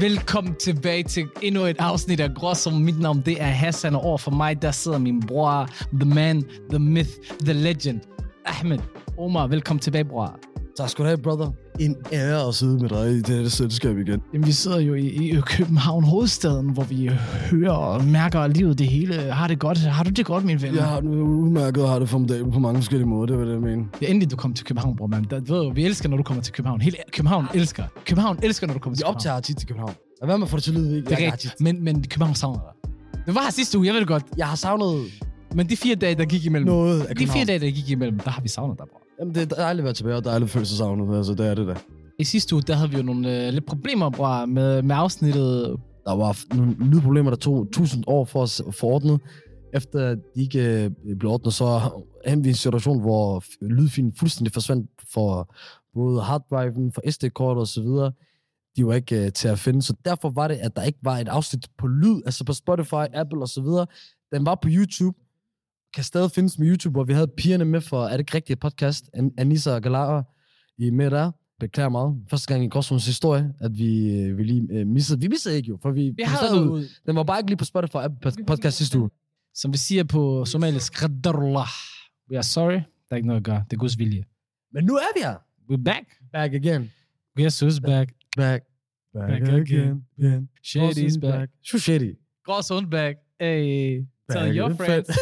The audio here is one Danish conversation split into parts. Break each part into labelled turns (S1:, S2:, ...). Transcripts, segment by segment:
S1: Velkommen tilbage til endnu et afsnit af Gråsum. Mit navn det er Hassan, og over for mig der sidder min bror, the man, the myth, the legend, Ahmed. Omar, velkommen tilbage, bror.
S2: Tak skal du have, brother. En ære at sidde med dig i det her selskab igen.
S1: Jamen, vi sidder jo i, i København, hovedstaden, hvor vi hører og mærker livet det hele. Har det godt? Har du det godt, min ven?
S2: Jeg har det udmærket og har det formidabelt på mange forskellige måder, det var det, jeg mener.
S1: Det er endelig, du kom til København, bror, mand. Der, ved du, vi elsker, når du kommer til København. Hele København elsker. København elsker, når du kommer til
S2: Jeg
S1: København.
S2: optager tit til København. Og hvad med at få det til at lyde, ikke?
S1: Det
S2: Jeg,
S1: er
S2: har
S1: rigtigt. Men, men København savner dig. Det var her sidste uge, jeg ved det godt.
S2: tit- jeg har savnet
S1: Men de fire dage, der gik imellem.
S2: noget af
S1: De
S2: København.
S1: fire dage, der gik imellem, der har vi savnet dig, bror.
S2: Jamen, det er dejligt at være tilbage, og dejligt at føle sig savnet. Altså, det er det der.
S1: I sidste uge, der havde vi jo nogle øh, lidt problemer, bror, med, med afsnittet.
S2: Der var f- nogle lydproblemer, der tog tusind år for os at få ordnet. Efter de ikke øh, blev ordnet, så havde vi en situation, hvor f- lydfilen fuldstændig forsvandt for både harddriven, for SD-kortet og så videre. De var ikke øh, til at finde, så derfor var det, at der ikke var et afsnit på lyd, altså på Spotify, Apple og så videre. Den var på YouTube, kan stadig findes med YouTube, hvor vi havde pigerne med for, er det ikke rigtigt podcast, An- Anissa og Galara i med der. Beklager meget. Første gang i Gråsmunds historie, at vi, øh, vi lige øh, missede. Vi missede ikke jo, for vi,
S1: Vi
S2: den
S1: havde
S2: sad
S1: det
S2: ude.
S1: ud,
S2: Den var bare ikke lige på Spotify Apple pod- podcast sidste uge.
S1: som vi siger på somalisk, Qadarullah. We are sorry. Der er ikke noget at gøre. Det er Guds vilje.
S2: Men nu er vi her.
S1: We're back.
S2: Back again.
S1: Yes, who's back?
S2: Back.
S1: Back again.
S2: again.
S1: Shady's back.
S2: Shoo shady.
S1: Gråsund back. Hey, tell
S2: Back
S1: your
S2: in
S1: friends.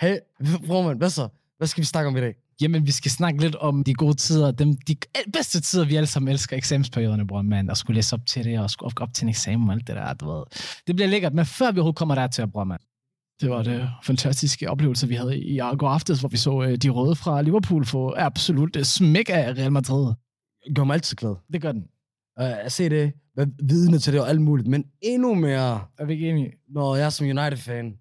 S2: hey, bror man, hvad så? Hvad skal vi snakke om i dag?
S1: Jamen, vi skal snakke lidt om de gode tider, dem, de al- bedste tider, vi alle sammen elsker, eksamensperioderne, bror, mand, og skulle læse op til det, og skulle op, op til en eksamen og alt det der, du ved. Det bliver lækkert, men før vi overhovedet kommer dertil, bror, mand. Det var det fantastiske oplevelse, vi havde i i går aftes, hvor vi så øh, de røde fra Liverpool få absolut øh, smæk af Real Madrid.
S2: Gør mig altid glad.
S1: Det gør den.
S2: Uh, at se det, være vidne til det og alt muligt, men endnu mere
S1: Er vi ikke enige?
S2: når jeg er som United-fan,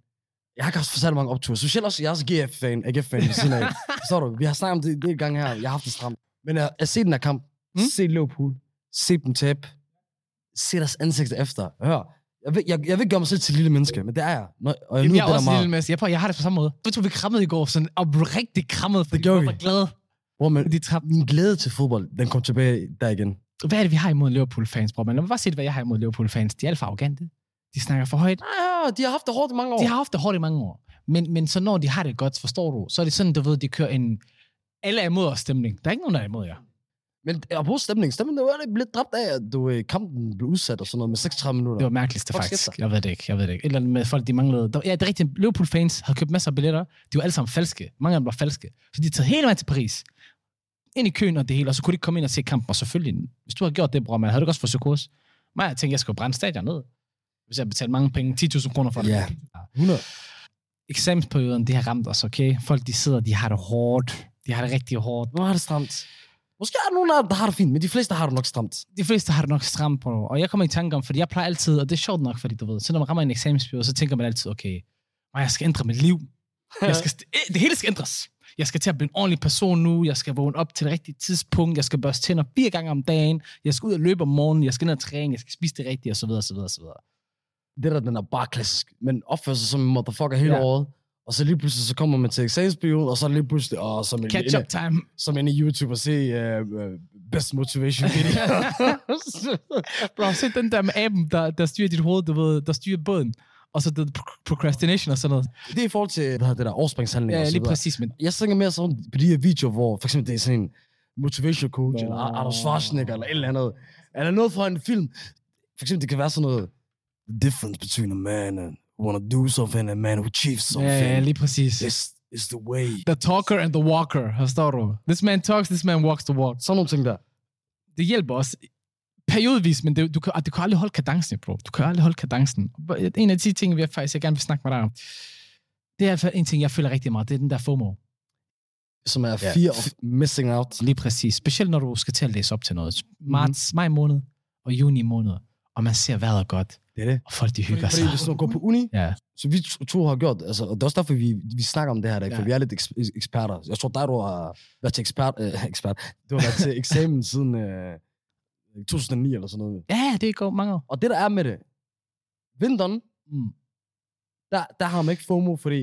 S2: jeg har ikke haft for særlig mange opture. Specielt også, jeg er også GF-fan, AGF-fan ved siden af. Forstår du? Vi har snakket om det en del gange her. Jeg har haft det stramt. Men at, at se den her kamp,
S1: Mm.
S2: mm? se Liverpool, se dem tabe, se deres ansigt efter. Hør, jeg vil, jeg, jeg vil gøre mig selv til et lille menneske, men det er jeg. Nå, og jeg
S1: Jamen,
S2: nyder
S1: jeg er
S2: det der
S1: også en lille
S2: meget.
S1: masse. Jeg, prøver, jeg har det på samme måde. Ved du, vi krammede i går, sådan oprigtigt krammede, fordi
S2: gjorde
S1: vi
S2: vi.
S1: var glade.
S2: Bror, men
S1: De tabte.
S2: min glæde til fodbold, den kom tilbage der igen.
S1: hvad er det, vi har imod Liverpool-fans, bror? Men lad mig bare sige, hvad jeg har imod Liverpool-fans. De er alt for arrogante. De snakker for højt.
S2: Ah, de har haft det hårdt i mange år.
S1: De har haft det hårdt i mange år. Men, men så når de har det godt, forstår du, så er det sådan, du ved, de kører en alle er imod os stemning. Der er ikke nogen, der er imod jer.
S2: Men apropos stemning, stemningen var lidt dræbt af, at du, øh, kampen blev udsat og sådan noget med 36 minutter.
S1: Det var mærkeligst, det
S2: Fuck, shit,
S1: faktisk. Jeg ved det ikke, jeg ved det ikke. Et eller andet med folk, de manglede. Der, ja, det er rigtigt. Liverpool-fans havde købt masser af billetter. De var alle sammen falske. Mange af dem var falske. Så de tager hele vejen til Paris. Ind i køen og det hele, og så kunne de ikke komme ind og se kampen. Og selvfølgelig, hvis du havde gjort det, bror, man havde du ikke også fået psykose. Men jeg tænkte, jeg skulle brænde stadion ned. Hvis jeg betalte mange penge, 10.000 kroner for det.
S2: Ja. 100.
S1: eksamensperioden, det har ramt os, okay? Folk, de sidder, de har det hårdt. De har det rigtig hårdt.
S2: Nu har det stramt. Måske er der nogen af dem, der har det fint, men de fleste har det nok stramt.
S1: De fleste har det nok stramt på, og jeg kommer i tanke om, fordi jeg plejer altid, og det er sjovt nok, fordi du ved, så når man rammer en eksamensperiode, så tænker man altid, okay, nej, jeg skal ændre mit liv. Jeg skal, st- eh, det hele skal ændres. Jeg skal til at blive en ordentlig person nu. Jeg skal vågne op til det rigtige tidspunkt. Jeg skal børste tænder fire gange om dagen. Jeg skal ud og løbe om morgenen. Jeg skal ned og træne. Jeg skal spise det rigtige, osv. osv., osv.
S2: Det der, den er bare klassisk. Men opfører sig som en motherfucker hele
S1: Ja.
S2: ja. året. Og så lige pludselig, så kommer man til eksamensperioden, og så lige pludselig, åh, som en,
S1: Catch up time.
S2: som en YouTuber, se uh, best motivation video.
S1: Bro, se den der med aben, der, der styrer dit hoved, du ved, der styrer båden. Og så det pro- procrastination og sådan noget.
S2: det er i forhold til hvad hedder det der overspringshandling
S1: Ja,
S2: og så
S1: lige
S2: videre.
S1: præcis, men
S2: Jeg tænker mere sådan på de her videoer, hvor for eksempel det er sådan en motivation coach, eller
S1: Nå.
S2: Arnold Schwarzenegger, eller et eller andet. Eller noget fra en film. For eksempel, det kan være sådan noget, the difference between a man and wanna do something, and a man who achieves something.
S1: ja, ja, lige præcis.
S2: This is the way.
S1: The talker and the walker, forstår du? This man talks, this man walks the walk.
S2: Sådan nogle ting der.
S1: Det hjælper os periodvis, men det, du, kan, du kan aldrig holde kadencen, bro. Du kan aldrig holde kadencen. En af de ting, jeg faktisk jeg gerne vil snakke med dig om, det er i hvert fald en ting, jeg føler rigtig meget, det er den der FOMO.
S2: Som er
S1: Ja.
S2: fear of missing out.
S1: Lige præcis. Specielt når du skal til at læse op til noget.
S2: Mhm.
S1: Marts, maj måned og juni måned, og man ser vejret er godt,
S2: Det er det.
S1: og folk de hygger
S2: Fordi
S1: sig.
S2: hvis du går på uni,
S1: Altså. Ja.
S2: så vi to- to har gjort, altså, og det er også derfor, vi, vi snakker om det her, der, for
S1: Ja.
S2: vi er lidt eks- eksperter. Jeg tror dig, du har været til ekspert, øh, ekspert. Du har været til eksamen siden øh, 2009 eller sådan noget.
S1: Ja, det går mange år.
S2: Og det, der er med det, vinteren,
S1: Mm.
S2: der, der har man ikke FOMO, fordi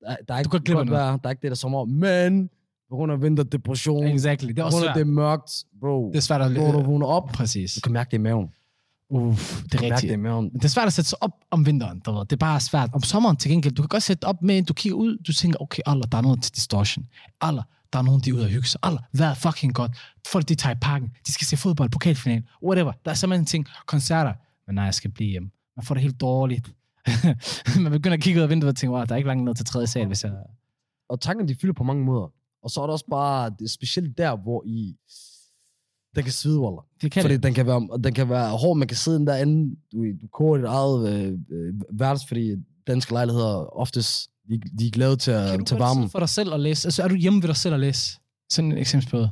S2: der, der er ikke
S1: går glip af
S2: godt
S1: noget.
S2: vejr, der er ikke det der sommer, men på grund af vinterdepression, exactly.
S1: Exactly. Det
S2: på
S1: er også
S2: grund af
S1: svært.
S2: det er mørkt, bro.
S1: Det er svært at...
S2: Hvor du vågner op,
S1: Præcis.
S2: du kan mærke det i maven.
S1: Uff, det
S2: Du
S1: er
S2: kan mærke
S1: rigtigt.
S2: det i maven.
S1: Men det er svært at sætte sig op om vinteren, du ved. Det er bare svært. Om sommeren til gengæld, du kan godt sætte op med, at du kigger ud, du tænker, okay, Allah, der er noget til distortion. Allah, der er nogen, de er ude og hygge sig. Allah, vejret er fucking godt. Folk, de tager i parken. De skal se fodbold, pokalfinalen, whatever. Der er så mange ting. Koncerter. Men nej, jeg skal blive hjemme. Man får det helt dårligt. man begynder at kigge ud af vinduet og tænke, wow, der er ikke langt ned til tredje sal, hvis jeg...
S2: Og tankerne, de fylder på mange måder. Og så er der også bare, det er specielt der, hvor I... Den kan svide, Waller.
S1: Det kan
S2: Fordi
S1: det.
S2: den kan, være, den kan være hård, man kan sidde den derinde, du, du koger dit eget øh, øh, værelse, fordi danske lejligheder oftest, de, de er glade til,
S1: Kan
S2: at,
S1: du
S2: øh, til
S1: godt
S2: varmen.
S1: sidde for dig selv og læse? Altså, er du hjemme ved dig selv og læse? Sådan en eksamensperiode.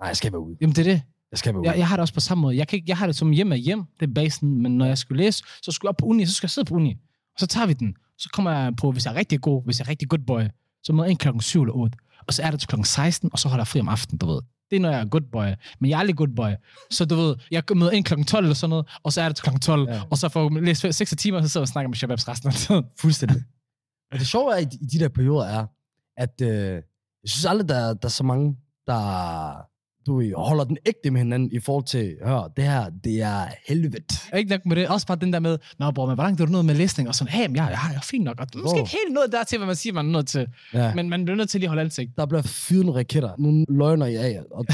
S2: Nej, jeg skal være ude.
S1: Jamen, det er det.
S2: Jeg skal være ude.
S1: Jeg, jeg har det også på samme måde. Jeg, kan ikke, jeg har det som hjem er hjem, det er basen, men når jeg skulle læse, så skulle jeg op på uni, så skal jeg sidde på uni. Og så tager vi den. Så kommer jeg på, hvis jeg er rigtig god, hvis jeg er rigtig good boy, så møder jeg ind klokken 7 eller 8. Og så er det til klokken 16, og så holder jeg fri om aftenen, du ved. Det er, når jeg er good boy. Men jeg er aldrig good boy. Så du ved, jeg møder ind klokken 12 eller sådan noget, og så er det til klokken 12.
S2: Ja.
S1: Ja. Og så får jeg læst 6 timer, og så sidder jeg og snakker med Shababs resten af tiden.
S2: Fuldstændig. Og det sjove er, i, i de der perioder er, at øh, jeg synes aldrig, der, der er så mange, der du ved, holder den ægte med hinanden i forhold til, hør, det her, det er helvede.
S1: Og Ikke nok med det. Også bare den der med, nå bror, men hvor langt er du nået med læsning? Og sådan, hey, men jeg, jeg, jeg er fint nok. Og du er måske
S2: Wow.
S1: ikke helt nået der til, hvad man siger, man er nået til.
S2: Ja. Men
S1: Men man bliver nødt til lige at holde ansigt.
S2: der bliver fyret nogle raketter, nogle løgner i af, og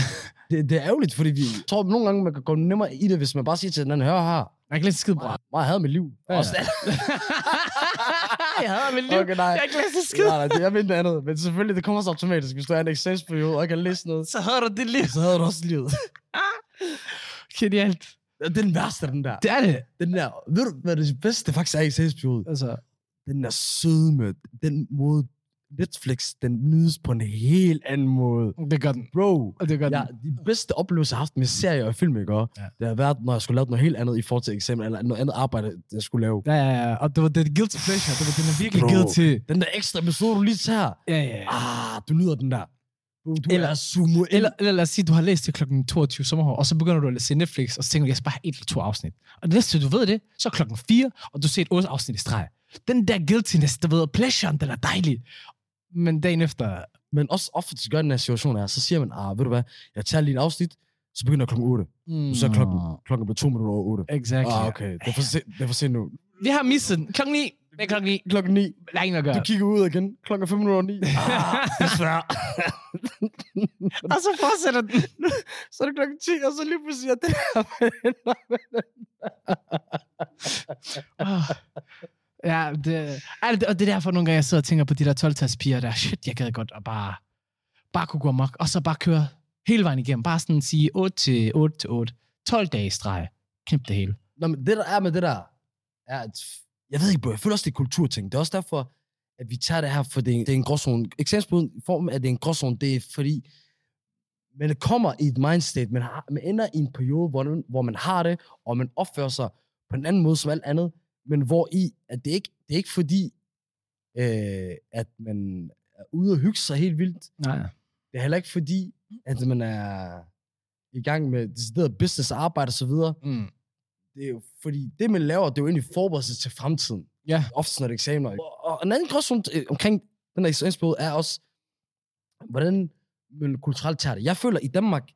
S2: det, det, er ærgerligt, fordi vi jeg tror, nogle gange man kan gå nemmere i det, hvis man bare siger til hinanden, hør her,
S1: Jeg kan læse skide, bror.
S2: Bra. Mig havde mit liv.
S1: Ja, ja.
S2: Også det.
S1: jeg hader mit liv. Okay.
S2: Okay, nej.
S1: Jeg har ikke læst det skid.
S2: Nej, nej, det, jeg mente det andet. Men selvfølgelig, det kommer så automatisk, hvis du er i en eksamensperiode og ikke kan læse noget.
S1: Så hader du det liv.
S2: Så havde du også livet.
S1: Genialt.
S2: Det er den værste, den der.
S1: Det er det.
S2: Den der, ved du, hvad det bedste det faktisk er i eksamensperiode?
S1: Altså,
S2: Den der sødme, den måde Netflix, den nydes på en helt anden måde.
S1: det gør den.
S2: Bro,
S1: Og det gør
S2: Ja,
S1: den.
S2: de bedste oplevelser, jeg har haft med serier og film, ikke? Ja.
S1: Ja.
S2: Det har været, når jeg skulle lave noget helt andet i forhold til eksamen, eller noget andet arbejde, jeg skulle lave.
S1: Ja, ja, ja. Og det var det er guilty pleasure. Det var den er virkelig
S2: Bro.
S1: guilty.
S2: Den der ekstra episode, du lige tager.
S1: Ja, ja. ja.
S2: Ah, du nyder den der.
S1: Du
S2: Eller sumo.
S1: Eller, eller lad os sige, du har læst til klokken 22 sommerhår, og så begynder du at læse Netflix, og så tænker du, jeg skal bare have et eller to afsnit. Og det næste, du ved det, så er klokken 4, og du ser et otte afsnit i streg. Den der guiltiness, du ved, pleasuren, den er dejlig. Men dagen efter,
S2: Men også ofte så gør den her situation er, så siger man, ah, ved du hvad, jeg tager lige et afsnit, så begynder klokken 8.
S1: mm,
S2: Så er klokken, klokken blevet to minutter over 8.
S1: Exactly.
S2: Ah, okay, det er for sent, det er for sent nu.
S1: Vi har misset den. Klokken 9. Det er klokken 9.
S2: Klokken 9,
S1: Der er ingen at gøre.
S2: du kigger ud igen, klokken 5 minutter over 9. Ah, desværre.
S1: Og så fortsætter den.
S2: så er det klokken 10, og så lige pludselig, at det
S1: Åh. Ah. ja, det, Ej, det, og det er derfor nogle gange, jeg sidder og tænker på de der 12 piger der. Shit, jeg gad godt at bare, bare kunne gå amok, og så bare køre hele vejen igennem. Bare sådan sige 8 til 8 til 8. 12 dage i streg. Knip det hele.
S2: Nå, men det der er med det der, er at, jeg ved ikke, bro, jeg føler også, det er kulturting. Det er også derfor, at vi tager det her, for det er en, det er en gråzone. Eksempelvis i form af, at det er en gråzone, det er fordi, man kommer i et mindset, man, har, man ender i en periode, hvor, man- hvor man har det, og man opfører sig på en anden måde som alt andet, men hvor i, at det ikke det er ikke fordi, øh, at man er ude og hygge sig helt vildt.
S1: Nej.
S2: Det er heller ikke fordi, at man er i gang med decideret business og arbejde og så videre
S1: Mm.
S2: det er jo, fordi det, man laver, det er jo egentlig forberedelse til fremtiden.
S1: Ja.
S2: Ofte når det er eksamener. ikke? Og, og en anden gråzone øh, omkring den her eksamensperiode er også, hvordan man kulturelt tager det. Jeg føler, i Danmark,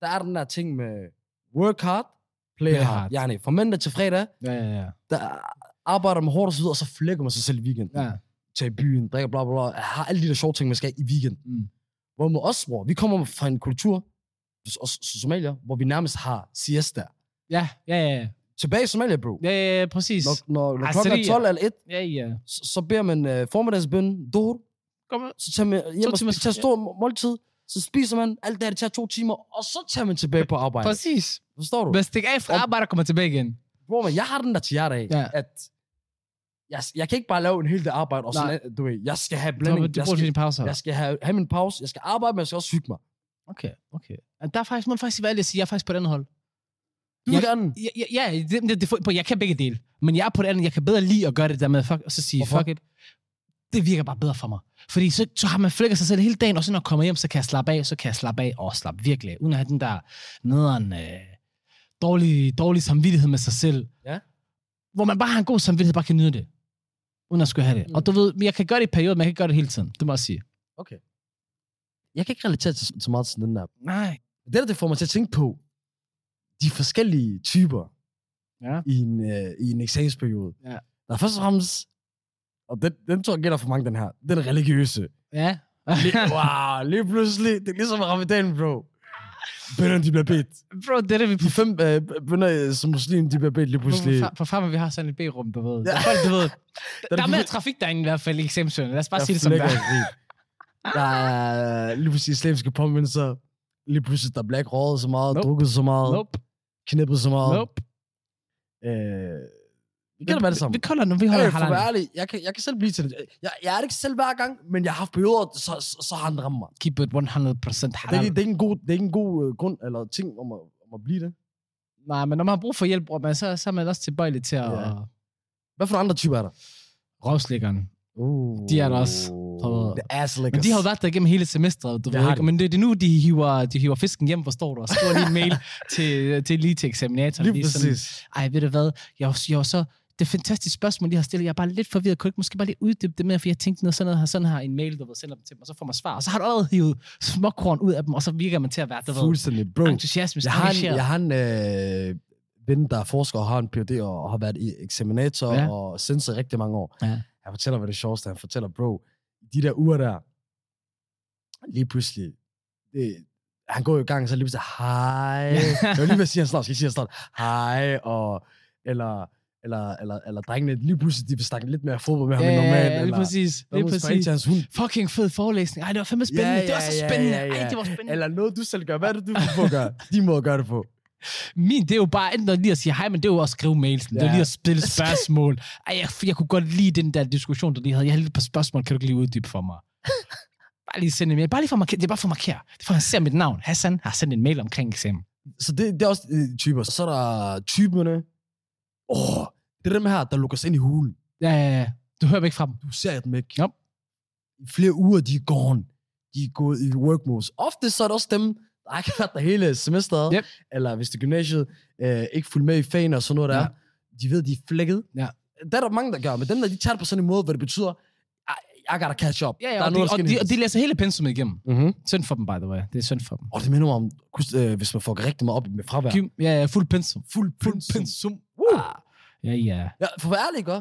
S2: der er den der ting med work hard, play
S1: Play
S2: hard.
S1: hard.
S2: hard. Ja, nej, fra mandag til fredag,
S1: Ja, ja, ja.
S2: der arbejder man hårdt og så videre, og så flækker man sig selv i weekenden.
S1: ja.
S2: Tager i byen, drikker bla bla bla, har alle de der sjove ting, man skal i weekenden.
S1: Mm.
S2: Hvor med os, hvor vi kommer fra en kultur, også Somalia, hvor vi nærmest har siesta.
S1: Ja, ja, ja.
S2: Tilbage i Somalia, bro.
S1: Ja, ja, ja, præcis.
S2: Når, når, når
S1: Ah,
S2: klokken er
S1: serier.
S2: 12 eller 1,
S1: Ja, ja.
S2: så, så beder man øh, formiddagsbøn, duhr,
S1: Kom med.
S2: så tager man hjem og
S1: timers-
S2: spiser, tager stor må- måltid, så spiser man alt det her, det tager to timer, og så tager man tilbage på arbejde.
S1: Præcis.
S2: Forstår du?
S1: Hvis stik af fra
S2: Og-
S1: arbejde og kommer tilbage igen.
S2: Bror, men jeg har den der til jer dag,
S1: Ja.
S2: at jeg, jeg kan ikke bare lave en hel dag arbejde, og sådan, øh, du ved, jeg skal have
S1: Blanding,
S2: blanding,
S1: du
S2: jeg
S1: bruger
S2: skal,
S1: dine pauser.
S2: jeg skal have, have min pause, jeg skal arbejde, men jeg skal også hygge mig.
S1: Okay, okay. Der er faktisk, man må faktisk være ærlig at sige, jeg er faktisk på et andet hold.
S2: Du
S1: Jeg-
S2: vil gerne.
S1: Ja, ja, ja det, det, det, på, jeg kan begge dele. Men jeg er på det andet, jeg kan bedre lide at gøre det der med, fuck, og så sige,
S2: Hvorfor?
S1: fuck it. Det virker bare bedre for mig. Fordi så, så har man flækket sig selv hele dagen, og så når jeg kommer hjem, så kan jeg slappe af, så kan jeg slappe af og slappe virkelig af, uden at have den der nederen øh, dårlig, dårlig samvittighed med sig selv.
S2: Ja.
S1: Hvor man bare har en god samvittighed, bare kan nyde det. Uden at skulle have det.
S2: Mm.
S1: Mm. Og du ved, jeg kan gøre det i perioder, men jeg kan ikke gøre det hele tiden. Det må jeg sige.
S2: Okay. jeg kan ikke relatere til, så meget til den der.
S1: Nej.
S2: Det der, det får mig til at tænke på, de forskellige typer
S1: Ja.
S2: i, en, øh, i en eksamensperiode.
S1: Ja.
S2: Der er først og fremmest, og den, den tror jeg gælder for mange, den her, den religiøse.
S1: Ja.
S2: Lige- wow, lige pludselig, det er ligesom ramadan, bro. Bønderne, de bliver bedt.
S1: Bro, det er det, vi
S2: De fem øh, bønder øh, som muslim, de bliver bedt lige pludselig.
S1: For, for farmen, vi har sådan et B-rum, du ved.
S2: Ja.
S1: Ja. Folk, du ved. Der, der er
S2: de-
S1: mere trafik derinde i hvert fald i eksempelsen. Lad os bare
S2: Der
S1: sige det som det
S2: flækker
S1: er.
S2: i krig. Der er lige pludselig islamiske påmindelser. Lige pludselig, der er black rådet så meget,
S1: Nope.
S2: drukket så meget,
S1: Nope,
S2: knippet så meget.
S1: nope.
S2: Øh, vi kan da være det samme.
S1: Vi kolder nu, vi holder
S2: Øh,
S1: øh,
S2: for at være
S1: halvanden.
S2: ærlig, jeg kan, jeg kan selv blive til det. Jeg, jeg er det ikke selv hver gang, men jeg har haft perioder, så, så, så har den ramt mig.
S1: Keep it 100%
S2: Det er,
S1: halal.
S2: ikke- det er ikke en god, det er ikke en god øh, grund eller ting om at, om at blive det.
S1: Nej, men når man har brug for hjælp, bror, man, så, så er man også tilbøjelig til at...
S2: Ja.
S1: Ja.
S2: Hvad for nogle andre typer er der?
S1: Røvslikkeren.
S2: Uh,
S1: De er der også. Prøv at-
S2: Oh. Det er ass
S1: Men
S2: lickers.
S1: de har jo været der igennem hele semestret, du
S2: Det
S1: ved
S2: har
S1: ikke.
S2: de.
S1: Men det, det er nu, de hiver, de hiver fisken hjem, forstår du, og skriver lige en mail til, til lige til eksaminatoren.
S2: Lige
S1: sådan,
S2: præcis.
S1: Ej, ved du hvad? Jeg var, jeg var så... Det er et fantastisk spørgsmål, de har stillet. Jeg er bare lidt forvirret. Kunne du ikke måske bare lige uddybe det mere? For jeg tænkte noget sådan noget her, sådan her i en mail, du ved, sender dem til dem, og så får man svar. Og så har du allerede hivet småkorn ud af dem, og så virker man til at være, du ved,
S2: Fuldstændig, bro.
S1: entusiasmisk.
S2: Jeg har en,
S1: engageret.
S2: jeg har en øh, ven, der er forsker og har en Ph.D. og har været i eksaminator ja.
S1: Ja.
S2: og sensor i rigtig mange år.
S1: Ja.
S2: Han fortæller, hvad det sjoveste er. Han fortæller, bro, de der uger der, lige pludselig, det, han går jo i gang, og så lige pludselig, hej. Jeg vil lige ved at sige, han snart skal jeg sige, han snart, hej, og, eller, eller, eller, eller drengene, lige pludselig, de vil snakke lidt mere fodbold med ham
S1: Ja,
S2: end
S1: ja,
S2: normalt.
S1: ja, lige
S2: eller,
S1: præcis.
S2: der er
S1: Lige
S2: nogen, der spørger ind
S1: præcis.
S2: til hans hund.
S1: Fucking fed forelæsning. Ej, det var fandme spændende.
S2: Ja,
S1: det var
S2: ja,
S1: så
S2: ja,
S1: spændende.
S2: ja, ja.
S1: Ej, det var spændende.
S2: Eller noget, du selv gør. Hvad er det, du får gøre? De må gøre det på.
S1: Min, det er jo bare enten at lige at sige hej, men det er jo at skrive mailsen. Det
S2: Ja.
S1: er lige at stille spørgsmål. Ej, jeg, jeg kunne godt lide den der diskussion, der lige havde. Jeg havde lidt et par spørgsmål, kan du ikke lige uddybe for mig? Bare lige sende en mail. Bare lige for at markere. Det er bare for at markere. Det er for at han ser mit navn. Hassan har sendt en mail omkring eksamen.
S2: Så det, det er også øh, typer. Så er der typerne. Åh, det er dem her, der lukker sig ind i hulen.
S1: Ja, ja, ja. Du hører væk fra dem.
S2: Du ser dem ikke.
S1: Ja.
S2: I flere uger, de er gone. De er gået i work modes. Ofte så er det også dem, der ikke har været der hele semesteret.
S1: Yep.
S2: Eller hvis det er gymnasiet, øh, ikke fulgt med i fan og sådan noget der.
S1: Ja.
S2: De ved, de er flækket.
S1: Ja.
S2: Der er der mange, der gør, men dem der, de tager det på sådan en måde, hvor det betyder, I, I gotta catch up.
S1: Ja, ja,
S2: der er
S1: og, de, og,
S2: der
S1: de, og de læser hele pensummet igennem.
S2: mm-hmm.
S1: Synd for dem, by the way. Det er synd for dem.
S2: Og det minder mig om, kus- øh, hvis man får rigtig meget op med fravær.
S1: Gym, ja, ja, fuld pensum.
S2: Fuld
S1: Fuld
S2: pensum.
S1: pensum.
S2: Woo!
S1: Ah. Ja, ja.
S2: Ja, for at være ærlig, ikke?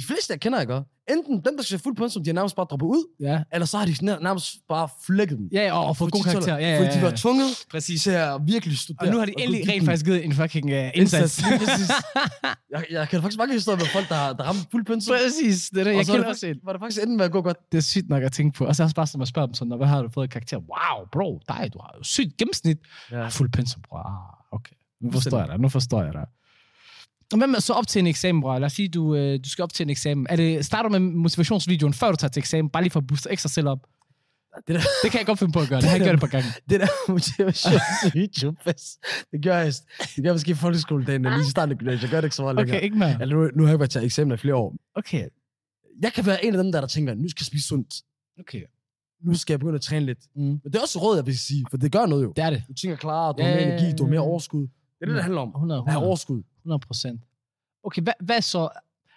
S2: De fleste, jeg kender, ikke? Enten dem, der skal fuld pensum, de har nærmest bare droppet ud,
S1: Ja,
S2: eller så har de nær- nærmest bare flækket dem.
S1: ja, ja og, og fået god karakter. Ja, ja, ja.
S2: Fordi de var
S1: ja.
S2: tvunget
S1: Præcis.
S2: til at virkelig studere.
S1: Og nu har de
S2: gå
S1: endelig
S2: dybden.
S1: rent faktisk givet en fucking uh, indsats.
S2: Lige præcis. jeg, jeg kender faktisk mange historier med folk, der, har- der ramte fuld pensum.
S1: Præcis, det er det.
S2: og
S1: Jeg
S2: så var
S1: kender
S2: det
S1: også en.
S2: faktisk, var det faktisk enden med at gå godt.
S1: Det er sygt nok at tænke på. Og så er det også bare som at spørge dem sådan, "Nå, hvad har du fået i karakter? Wow, bro, dig, du har jo sygt gennemsnit.
S2: Ja.
S1: Ja. Fuld pensum, bro. Ah, okay. Nu forstår jeg dig, nu forstår jeg dig. Og hvad med så op til en eksamen, bro? Lad os sige, du, øh, du skal op til en eksamen. Er det, starter du med motivationsvideoen, før du tager til eksamen, bare lige for at booste ekstra selv op?
S2: Det der,
S1: Det kan jeg godt finde på at gøre. Det har jeg gjort et par gange.
S2: det der motivationsvideo, det gør jeg, det gør jeg måske i folkeskoledagen, eller lige i starten af gymnasiet. Jeg gør det ikke så meget længere.
S1: Okay, ikke mere.
S2: Eller nu, nu har jeg ikke været til eksamen i flere år.
S1: Okay,
S2: Jeg kan være en af dem, der, der tænker, nu skal jeg spise sundt.
S1: okay.
S2: nu skal jeg begynde at træne lidt.
S1: Mm.
S2: Men det er også råd, jeg vil sige, for det gør noget jo.
S1: Det er det.
S2: Du tænker klar, du
S1: Ja,
S2: har mere
S1: ja, ja,
S2: energi, du har mere
S1: ja.
S2: overskud. Det er det, det handler om.
S1: 100,
S2: At have
S1: 100.
S2: overskud.
S1: 100 procent. Okay, hvad, hvad så?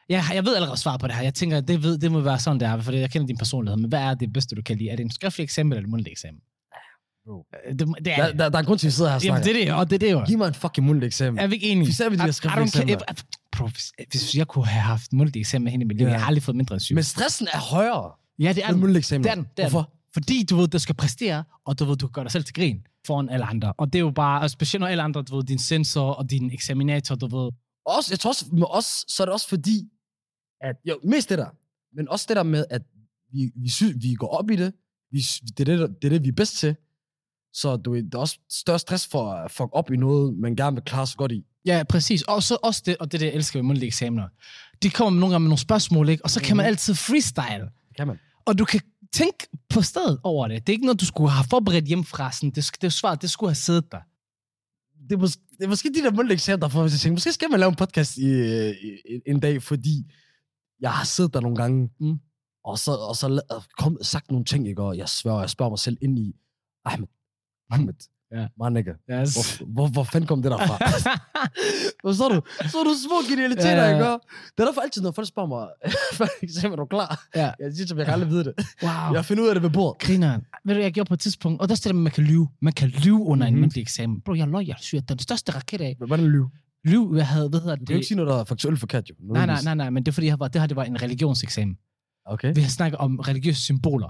S1: Jeg, jeg ved allerede svaret på det her. Jeg tænker, det, ved, det må være sådan, det er, for jeg kender din personlighed. Men hvad er det bedste, du kan lide? Er det en skriftlig eksamen eller en mundtlig eksamen?
S2: Bro.
S1: Øh, Det, må- det
S2: Der,
S1: er det.
S2: der, der, er en grund til, at vi sidder her og
S1: Jamen,
S2: snakker.
S1: det er det, og det er det jo.
S2: Giv mig en fucking mundtlig eksamen.
S1: Er vi ikke enige?
S2: Især ved de her
S1: I- I
S2: skriftlige
S1: don't care-
S2: eksamener.
S1: Jeg- Bro, hvis, hvis jeg kunne have haft mundtlig eksamen hele mit liv,
S2: Ja.
S1: jeg har aldrig fået mindre end syv.
S2: Men stressen er højere
S1: ja, det er
S2: end
S1: den.
S2: mundtlig eksamen.
S1: Det er den. Det er den.
S2: Hvorfor?
S1: Fordi du ved, du skal præstere, og du ved, du gør dig selv til grin foran alle andre. Og det er jo bare, og specielt når alle andre, du ved, din sensor og din eksaminator, du ved.
S2: Også, jeg tror også, med os, så er det også fordi, at jo, mest det der, men også det der med, at vi, vi, sy- vi går op i det, vi, sy- det, er det, der- det er det, vi er bedst til, så du, ved, der er også større stress for at fuck op i noget, man gerne vil klare sig godt i.
S1: Ja, præcis. Og så også det, og det er det, jeg elsker ved mundtlige eksamener. De kommer med nogle gange med nogle spørgsmål, ikke? og så kan man
S2: Mhm.
S1: altid freestyle.
S2: Kan man?
S1: Og du kan tænke på stedet over det. Det er ikke noget, du skulle have forberedt hjemmefra. Sådan. Det, sk- det er svaret, det skulle have siddet der.
S2: det er, mås- det er måske de der mundtlige eksamener, der får mig til at tænke, måske skal man lave en podcast i, øh, i, en dag, fordi jeg har siddet der nogle gange,
S1: Mm.
S2: og så, og så la- og kom, sagt nogle ting, ikke? og jeg svær, jeg spørger mig selv ind i, Ahmed, Ahmed,
S1: Ja.
S2: My nigga.
S1: Yes.
S2: Hvor, hvor, hvor fanden kom det derfra? Hvad så du? Så er du små genialiteter,
S1: Ja, ja,
S2: ja,
S1: ja.
S2: ja. gør. Det er derfor altid, når folk spørger mig, før eksamen, er du klar?
S1: Ja.
S2: Jeg siger til dem, jeg kan aldrig vide det.
S1: Wow.
S2: Jeg finder ud af det ved bordet.
S1: Grineren. Ved du, jeg gjorde på et tidspunkt, og der er også det der med, at man kan lyve. Man kan lyve under mm-hmm. en
S2: Mhm.
S1: mundtlig eksamen. Bro, jeg løg, jeg syr den største raket af.
S2: Men Hvordan lyve?
S1: Lyv, jeg havde, hvad hedder
S2: Du
S1: det?
S2: kan jo ikke sige noget, der er faktuelt forkert, jo.
S1: nej, nej, nej, nej, men det er fordi, jeg var, det her det var en religionseksamen.
S2: Okay.
S1: Vi har snakket om religiøse symboler.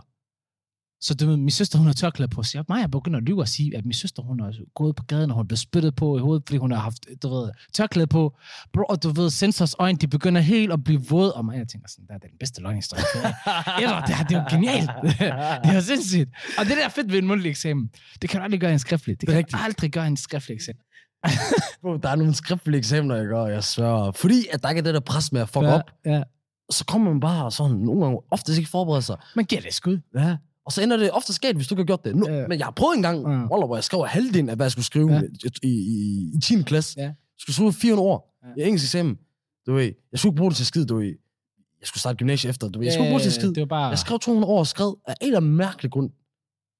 S1: Så det med, min søster, hun har tørklæde på, så jeg, mig, jeg begynder at lyve og sige, at min søster, hun har gået på gaden, og hun blev spyttet på i hovedet, fordi hun har haft, du ved, tørklæde på. Bro, og du ved, sensors øjne, de begynder helt at blive våde. Og mig, jeg tænker sådan, der er den bedste løgnhistorie. Ever, det, her, det er jo genialt. det er jo sindssygt. Og det der er fedt ved en mundtlig eksamen, det kan du aldrig gøre i en skriftlig. Det,
S2: Det er
S1: kan du
S2: rigtigt.
S1: aldrig gøre i en skriftlig eksamen.
S2: Bro, der er nogle skriftlige eksamener, jeg gør, jeg sværger. Fordi at der ikke er det der pres med at fuck ja. op,
S1: Ja.
S2: så kommer man bare sådan nogle gange, oftest ikke forberede sig.
S1: Man giver det et skud.
S2: Ja. Og så ender det ofte sket, hvis du ikke har gjort det. Nu,
S1: Ja.
S2: Men jeg har prøvet en gang,
S1: Ja.
S2: ja. hvor jeg skrev halvdelen af, hvad jeg skulle skrive
S1: Ja.
S2: ja. i, i, i 10. klasse.
S1: Ja.
S2: Jeg skulle skrive 400 ord
S1: Ja.
S2: ja. i engelsk eksamen. Du ved, jeg skulle ikke bruge det til skid, du ved. Jeg skulle starte gymnasiet efter, du ved. Jeg skulle ikke bruge Øh, det til skid.
S1: Det var bare...
S2: Jeg skrev 200 ord og skrev af en eller anden mærkelig grund.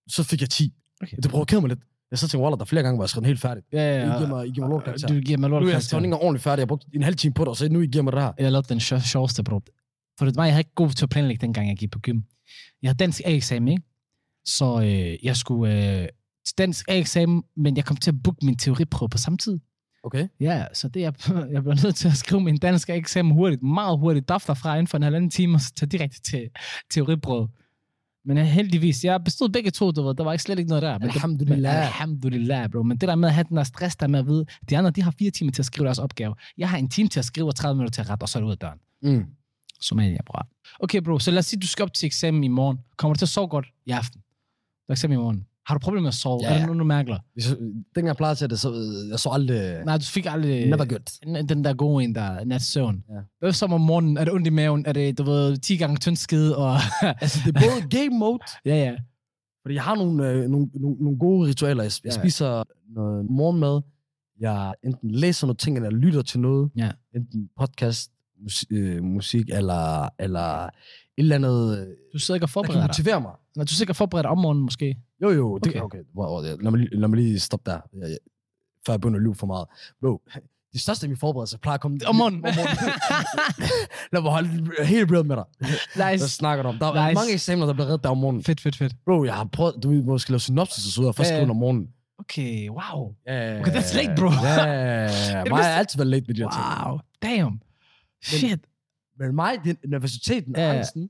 S2: Så fik jeg 10.
S1: Okay.
S2: Okay. Det provokerede mig lidt. Jeg så tænkte, Waller, der er flere gange, hvor jeg skrev den helt færdig.
S1: Ja, ja,
S2: I giver mig, I giver mig lortkarakter.
S1: Du giver mig lort.
S2: Nu er jeg skrevet ikke engang ordentligt færdig. Jeg brugte en halv time på det, og så nu I giver mig det her.
S1: jeg lavede den sjo- sjoveste, bro. For det var, jeg havde ikke god til at planlægge, dengang jeg gik på gym. Jeg havde dansk A-eksamen, ikke? Så øh, jeg skulle øh, til dansk A-eksamen, men jeg kom til at booke min teoriprøve på samme tid.
S2: Okay.
S1: Ja, så det jeg, jeg blev nødt til at skrive min dansk eksamen hurtigt, meget hurtigt, dafter fra inden for en halvanden time, og så tage direkte til teoriprøve. Men jeg, heldigvis, jeg bestod begge to, du ved, der var ikke slet ikke noget der. Men det-
S2: Alhamdulillah.
S1: Men, alhamdulillah, bro. Men det der med at have den der stress, der med at vide, de andre, de har fire timer til at skrive deres opgave. Jeg har en time til at skrive, og 30 minutter til at rette, og så er det ud af døren.
S2: Mm.
S1: Somalia, bror. Okay, bro, så lad os sige, du skal op til eksamen i morgen. Kommer du til at sove godt i aften? Du har eksamen i morgen. Har du problemer med at sove?
S2: Ja,
S1: Er der
S2: ja.
S1: nogen, du mærker?
S2: Hvis jeg, dengang jeg plejede til det, så øh, jeg så aldrig...
S1: Nej, du fik aldrig...
S2: Never good.
S1: N- den der gode en, der er natsøvn.
S2: Ja.
S1: Hvad så om morgenen? Er det ondt i maven? Er det, du ved, 10 gange tynd skide? Og...
S2: Altså, det er både game mode,
S1: ja, ja.
S2: fordi jeg har nogle, øh, nogle, nogle, nogle gode ritualer. Jeg, jeg
S1: Ja.
S2: spiser noget morgenmad. Jeg enten læser nogle ting, eller jeg lytter til noget.
S1: Ja.
S2: Enten podcast, musik, øh, musik eller, eller et eller andet, øh,
S1: Du sidder ikke og
S2: der kan
S1: forbereder dig.
S2: motivere mig.
S1: Når du sidder ikke og forbereder dig om morgenen, måske.
S2: Jo, jo. Det,
S1: Okay.
S2: okay. okay. Wow, wow, ja. lad, mig lige, lad mig lige stoppe der, jeg, jeg, før jeg begynder at lyve for meget. Bro, de største af mine forberedelser plejer at komme...
S1: Om morgenen.
S2: lad mig holde helt bredt med dig.
S1: nice.
S2: Hvad snakker du om? Der er
S1: Nice.
S2: nice. mange eksamener, der bliver reddet der om morgenen.
S1: Fedt, fedt, fedt.
S2: Bro, jeg har prøvet... Du ved, hvor jeg skal lave synopsis og så videre, først
S1: Ja, ja.
S2: skrive den om morgenen.
S1: Okay, wow.
S2: Yeah.
S1: Okay, that's late, bro.
S2: Ja, yeah.
S1: det
S2: mig har
S1: bedste-
S2: altid været late med de her ting.
S1: Wow. Damn. Shit.
S2: Men mig, det er nervøsiteten og
S1: Ja, ja.
S2: angsten,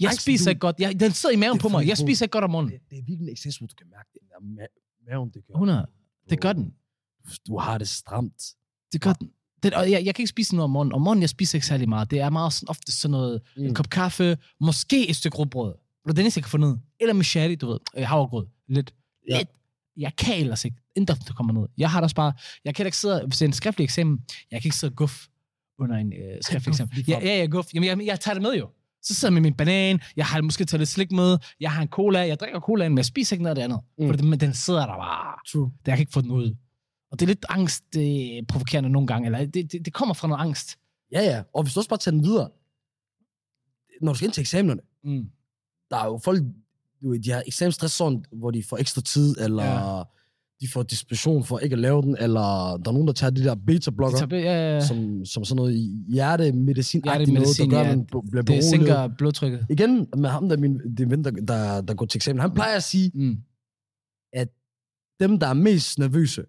S1: Jeg
S2: Angsten,
S1: spiser
S2: du-
S1: ikke godt. Jeg, den sidder i maven
S2: Det er
S1: på mig.
S2: for
S1: Jeg
S2: god.
S1: spiser ikke godt om morgenen.
S2: det, det er virkelig en eksistens, hvor du kan mærke det. Der ma- maven, det gør.
S1: 100. Det gør den.
S2: Du har det stramt.
S1: Det gør den. Det, og jeg, jeg kan ikke spise noget om morgenen. Om morgenen, jeg spiser ikke særlig meget. Det er meget sådan, ofte sådan noget, mm. en
S2: Mm.
S1: kop kaffe, måske et stykke råbrød. Det er det eneste, jeg kan få ned. Eller med sherry, du ved. Øh, havregrød. Lidt.
S2: Ja.
S1: Lidt. Jeg kan ellers ikke. Inden der kommer ned. Jeg har da også bare... Jeg kan heller ikke sidde... Hvis det er en skriftlig eksamen, jeg kan ikke sidde og guf under en øh, skriftlig
S2: Guf
S1: eksamen.
S2: lige
S1: Ja,
S2: frem.
S1: ja, ja, guf. Jamen, jeg, jeg tager det med jo. Så sidder jeg med min banan, jeg har måske taget lidt slik med, jeg har en cola, jeg drikker colaen, men jeg spiser ikke noget af det andet. Mm.
S2: Mm.
S1: For det, men den sidder der bare
S2: True.
S1: det, jeg kan ikke få den ud. Og det er lidt angstprovokerende nogle gange, eller det, det, det kommer fra noget angst.
S2: Ja, ja. Og hvis du også bare tager den videre, når du skal ind til eksamenerne,
S1: Mm.
S2: der er jo folk, du ved, de har eksamensstress sådan, hvor de får ekstra tid, eller
S1: Ja.
S2: ja. de får disposition for ikke at lave den, eller der er nogen, der tager de der beta-blokker,
S1: Det, tager, ja, ja, ja.
S2: som, som sådan noget hjertemedicin noget,
S1: Hjertemedicin,
S2: der gør,
S1: ja.
S2: at man b- bliver
S1: det
S2: beroliget.
S1: sænker blodtrykket.
S2: Igen, med ham, der er min det er ven, der, der, der går til eksamen, han plejer at sige,
S1: Mm.
S2: dem, der er mest nervøse,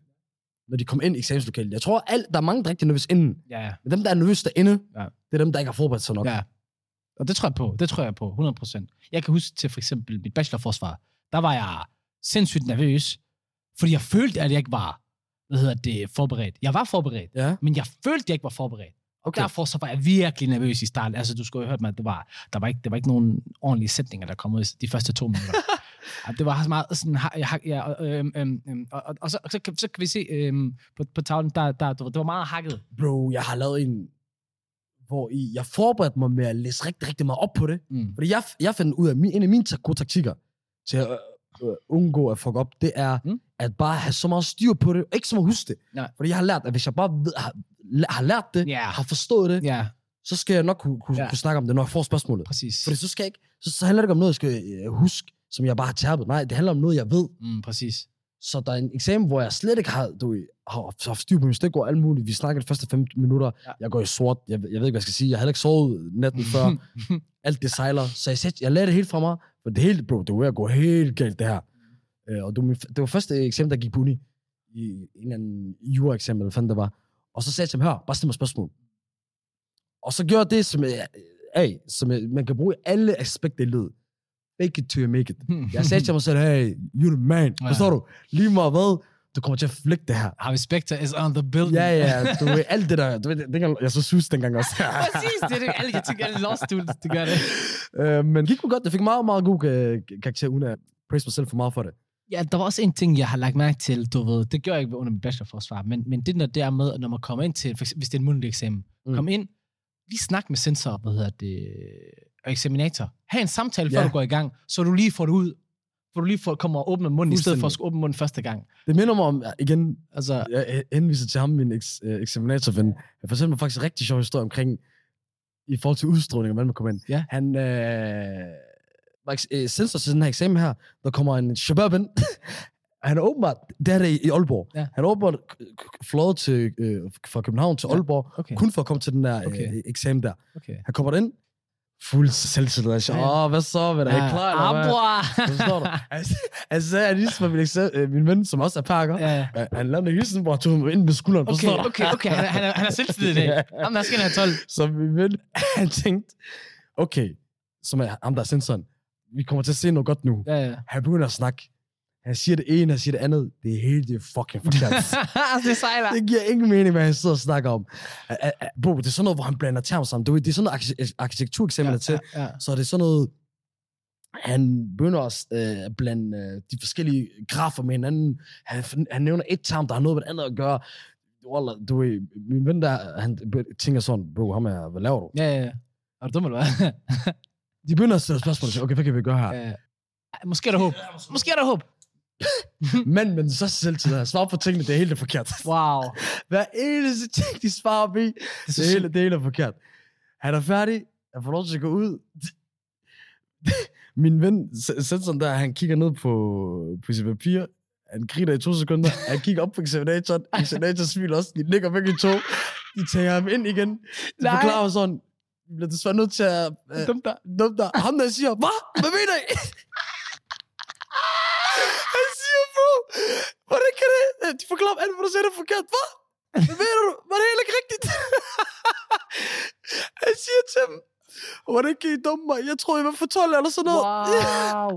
S2: når de kommer ind i eksamenslokalet. Jeg tror, alt, der er mange, der er rigtig nervøse inden.
S1: Ja, ja.
S2: Men dem, der er nervøse derinde,
S1: Ja.
S2: ja. det er dem, der ikke har forberedt sig nok.
S1: Ja. Og det tror jeg på. Det tror jeg på, 100%. Jeg kan huske til for eksempel mit bachelorforsvar. Der var jeg sindssygt nervøs, fordi jeg følte, at jeg ikke var hvad hedder det, forberedt. Jeg var forberedt,
S2: ja?
S1: men jeg følte, at jeg ikke var forberedt. Okay.
S2: Okay.
S1: Derfor så var jeg virkelig nervøs i starten. Altså, du skulle have hørt mig, at det var, der, var ikke, der var ikke nogen ordentlige sætninger, der kom ud i de første to minutter. Ja, det var så meget sådan... ha- ha- Ja, og, øhm, øhm, øhm, og, og, og så, og så, kan, så kan vi se øhm, på, på tavlen, der, der, du ved, det var meget hakket.
S2: bro, jeg har lavet en, hvor I, jeg forberedte mig med at læse rigtig, rigtig meget op på det.
S1: Mm.
S2: Fordi jeg, jeg fandt ud af, min, en af mine tak- gode taktikker til at øh, øh, undgå at fuck op, det er
S1: Mm.
S2: mm. at bare have så meget styr på det, og ikke så meget huske det.
S1: Nej.
S2: Fordi jeg har lært, at hvis jeg bare ved, har, la- har lært det,
S1: Ja.
S2: har forstået det,
S1: Ja,
S2: så skal jeg nok kunne, kunne,
S1: Ja.
S2: kunne snakke om det, når jeg får spørgsmålet.
S1: præcis.
S2: Fordi så skal jeg ikke, så, så handler det ikke om noget, jeg skal øh, huske, som jeg bare har tærpet. Nej, det handler om noget, jeg ved,
S1: Mm, præcis.
S2: Så der er en eksamen, hvor jeg slet ikke har, du, ved, har haft styr på min stikord og alt muligt. Vi snakker de første 15 minutter.
S1: Ja.
S2: Ja. Jeg går i sort. Jeg, jeg ved ikke, hvad jeg skal sige. Jeg har heller ikke sovet natten før. alt det sejler. Så jeg, sæt, jeg lagde det helt fra mig, for det hele, bro, det var ved at gå helt galt, det her. Øh, og det var, min, det var første eksamen, der gik på uni, i en eller anden jura-eksamen, eller hvad fanden det var. Og så sagde jeg til ham, hør, bare stil mig spørgsmål. Og så gjorde jeg det, som, jeg, hey, som jeg, man kan bruge i alle aspekter i livet. Make it to you make it. Jeg sagde til mig selv, hey, you're the man.
S1: Ja.
S2: Forstår du? Lige meget hvad, du kommer til at flække det her.
S1: Harvey Specter is on the building.
S2: Ja, ja, du ved, alt det der. Du ved, dengang, jeg så sus dengang også.
S1: Præcis, det er det. Alle, jeg tænker, alle law students, det gør det.
S2: Øh, men gik mig godt. Jeg fik meget, meget god øh, karakter, uden at praise mig selv for meget for det.
S1: Ja, der var også en ting, jeg har lagt mærke til, du ved, det gør jeg ikke under min bachelorforsvar, men, men det der der med, når man kommer ind til, for eksempel, hvis det er en mundtlig eksamen, mm.
S2: Mm.
S1: kom ind, lige snak med sensor, hvad hedder det, og eksaminator. Ha' en samtale, før
S2: Ja.
S1: du går i gang, så du lige får det ud, for du lige får, kommer og åbner munden, i stedet for at
S2: Fuldstændig.
S1: skulle åbne munden første gang.
S2: Det minder mig om, igen,
S1: Altså,
S2: jeg jeg henviser til ham, min eks, øh, eksaminatorven. Han fortalte mig faktisk en rigtig sjov historie omkring, i forhold til udstråling, og hvordan man kommer ind.
S1: Ja.
S2: Han øh, var eks- øh, sensor til den her eksamen her, der kommer en shabab ind. han er åbenbart, det her er i, i Aalborg.
S1: Ja.
S2: Han er åbenbart k- k- fløjet til, øh, fra København til
S1: Ja.
S2: Aalborg,
S1: okay,
S2: kun for at komme til den der
S1: Okay.
S2: øh, eksamen der.
S1: okay.
S2: Han kommer ind, fuld selvtillid. Jeg siger,
S1: Ja, ja.
S2: åh, hvad så, hvad der er I
S1: Ah,
S2: klar? eller hvad?"
S1: Abra!
S2: Forstår du? Altså, altså jeg lige var min, eksa- øh, min ven, som også er parker. Ja.
S1: Ja.
S2: Han lavede en hilsen, hvor han tog mig ind med skulderen.
S1: Okay,
S2: Forstår du?
S1: okay, okay, han, er- han, er- han er selvtid i dag. Ham der skal have 12.
S2: Så min ven, han tænkte, okay, som er ham, der er sensoren. Vi kommer til at se noget godt nu.
S1: Ja, ja.
S2: Han begynder at snakke. Han siger det ene, han siger det andet. Det er helt det er fucking forkert.
S1: Altså, det sejler.
S2: det giver ingen mening, hvad han sidder og snakker om. Ah, ah, ah, Bro, det er sådan noget, hvor han blander termer sammen. Du ved, Det er sådan noget arki- arkitektureksamener ja, til.
S1: Ja, ja.
S2: Så er det sådan noget, han begynder også øh, at blande øh, de forskellige grafer med hinanden. Han, han nævner et term, der har noget med det andet at gøre. Wallah, du ved, min ven der, han tænker sådan, bro, ham er, hvad laver du?
S1: Ja, ja, ja. Er du dum, eller hvad?
S2: De begynder at stille spørgsmål, til, okay, hvad kan vi gøre her?
S1: Ja. Ej, Måske er der håb. Måske er der håb.
S2: Men, men så selv til at svare på tingene, det er helt forkert.
S1: Wow.
S2: Hver eneste ting, de svarer på,
S1: Det
S2: det er helt, det er helt forkert. Han er færdig, han får lov til at gå ud. Min ven, s- sensoren der, han kigger ned på, på sit papir, han griner i to sekunder, han kigger op på examinatoren, examinatoren smiler også, de ligger begge to, de tager ham ind igen, de
S1: Nej.
S2: Nej. forklarer ham sådan, vi bliver desværre nødt til at... Øh,
S1: dumt der.
S2: dem der, ham der siger, hvad? Hvad mener I? Han siger, bro, hvordan kan det? Øh, De forklarer mig alt, hvor du sagde det er forkert. Hvad? Hvad mener du? Var det heller ikke rigtigt? Han siger til dem, hvordan kan I dumme mig? Jeg tror, jeg var for 12 eller sådan noget.
S1: Wow.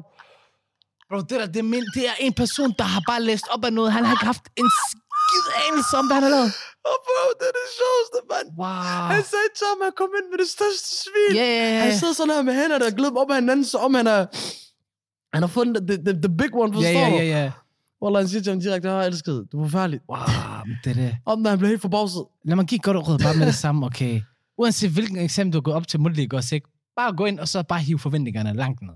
S1: Bro, det der, det er, min- det er en person, der har bare læst op af noget. Han har ikke haft en skid anelse om, hvad han har lavet.
S2: Og bro, det er det sjoveste, mand.
S1: Wow.
S2: Han sagde til ham, at han kom ind med det største svin.
S1: Ja, ja, ja.
S2: Han sidder sådan her med hænderne og glæder op af hinanden, så om han er... Han har fundet the, the, the big one,
S1: Ja,
S2: forstår
S1: ja,
S2: du?
S1: ja, ja.
S2: Wallah, han siger til ham direkte, jeg elsker dig. Du er forfærdelig.
S1: Wow, men det er det.
S2: Om der han blev helt forbavset.
S1: Lad mig give et godt råd bare med det samme, okay? Uanset hvilken eksamen du går op til mundtlig, går ikke? Bare gå ind og så bare hive forventningerne langt ned.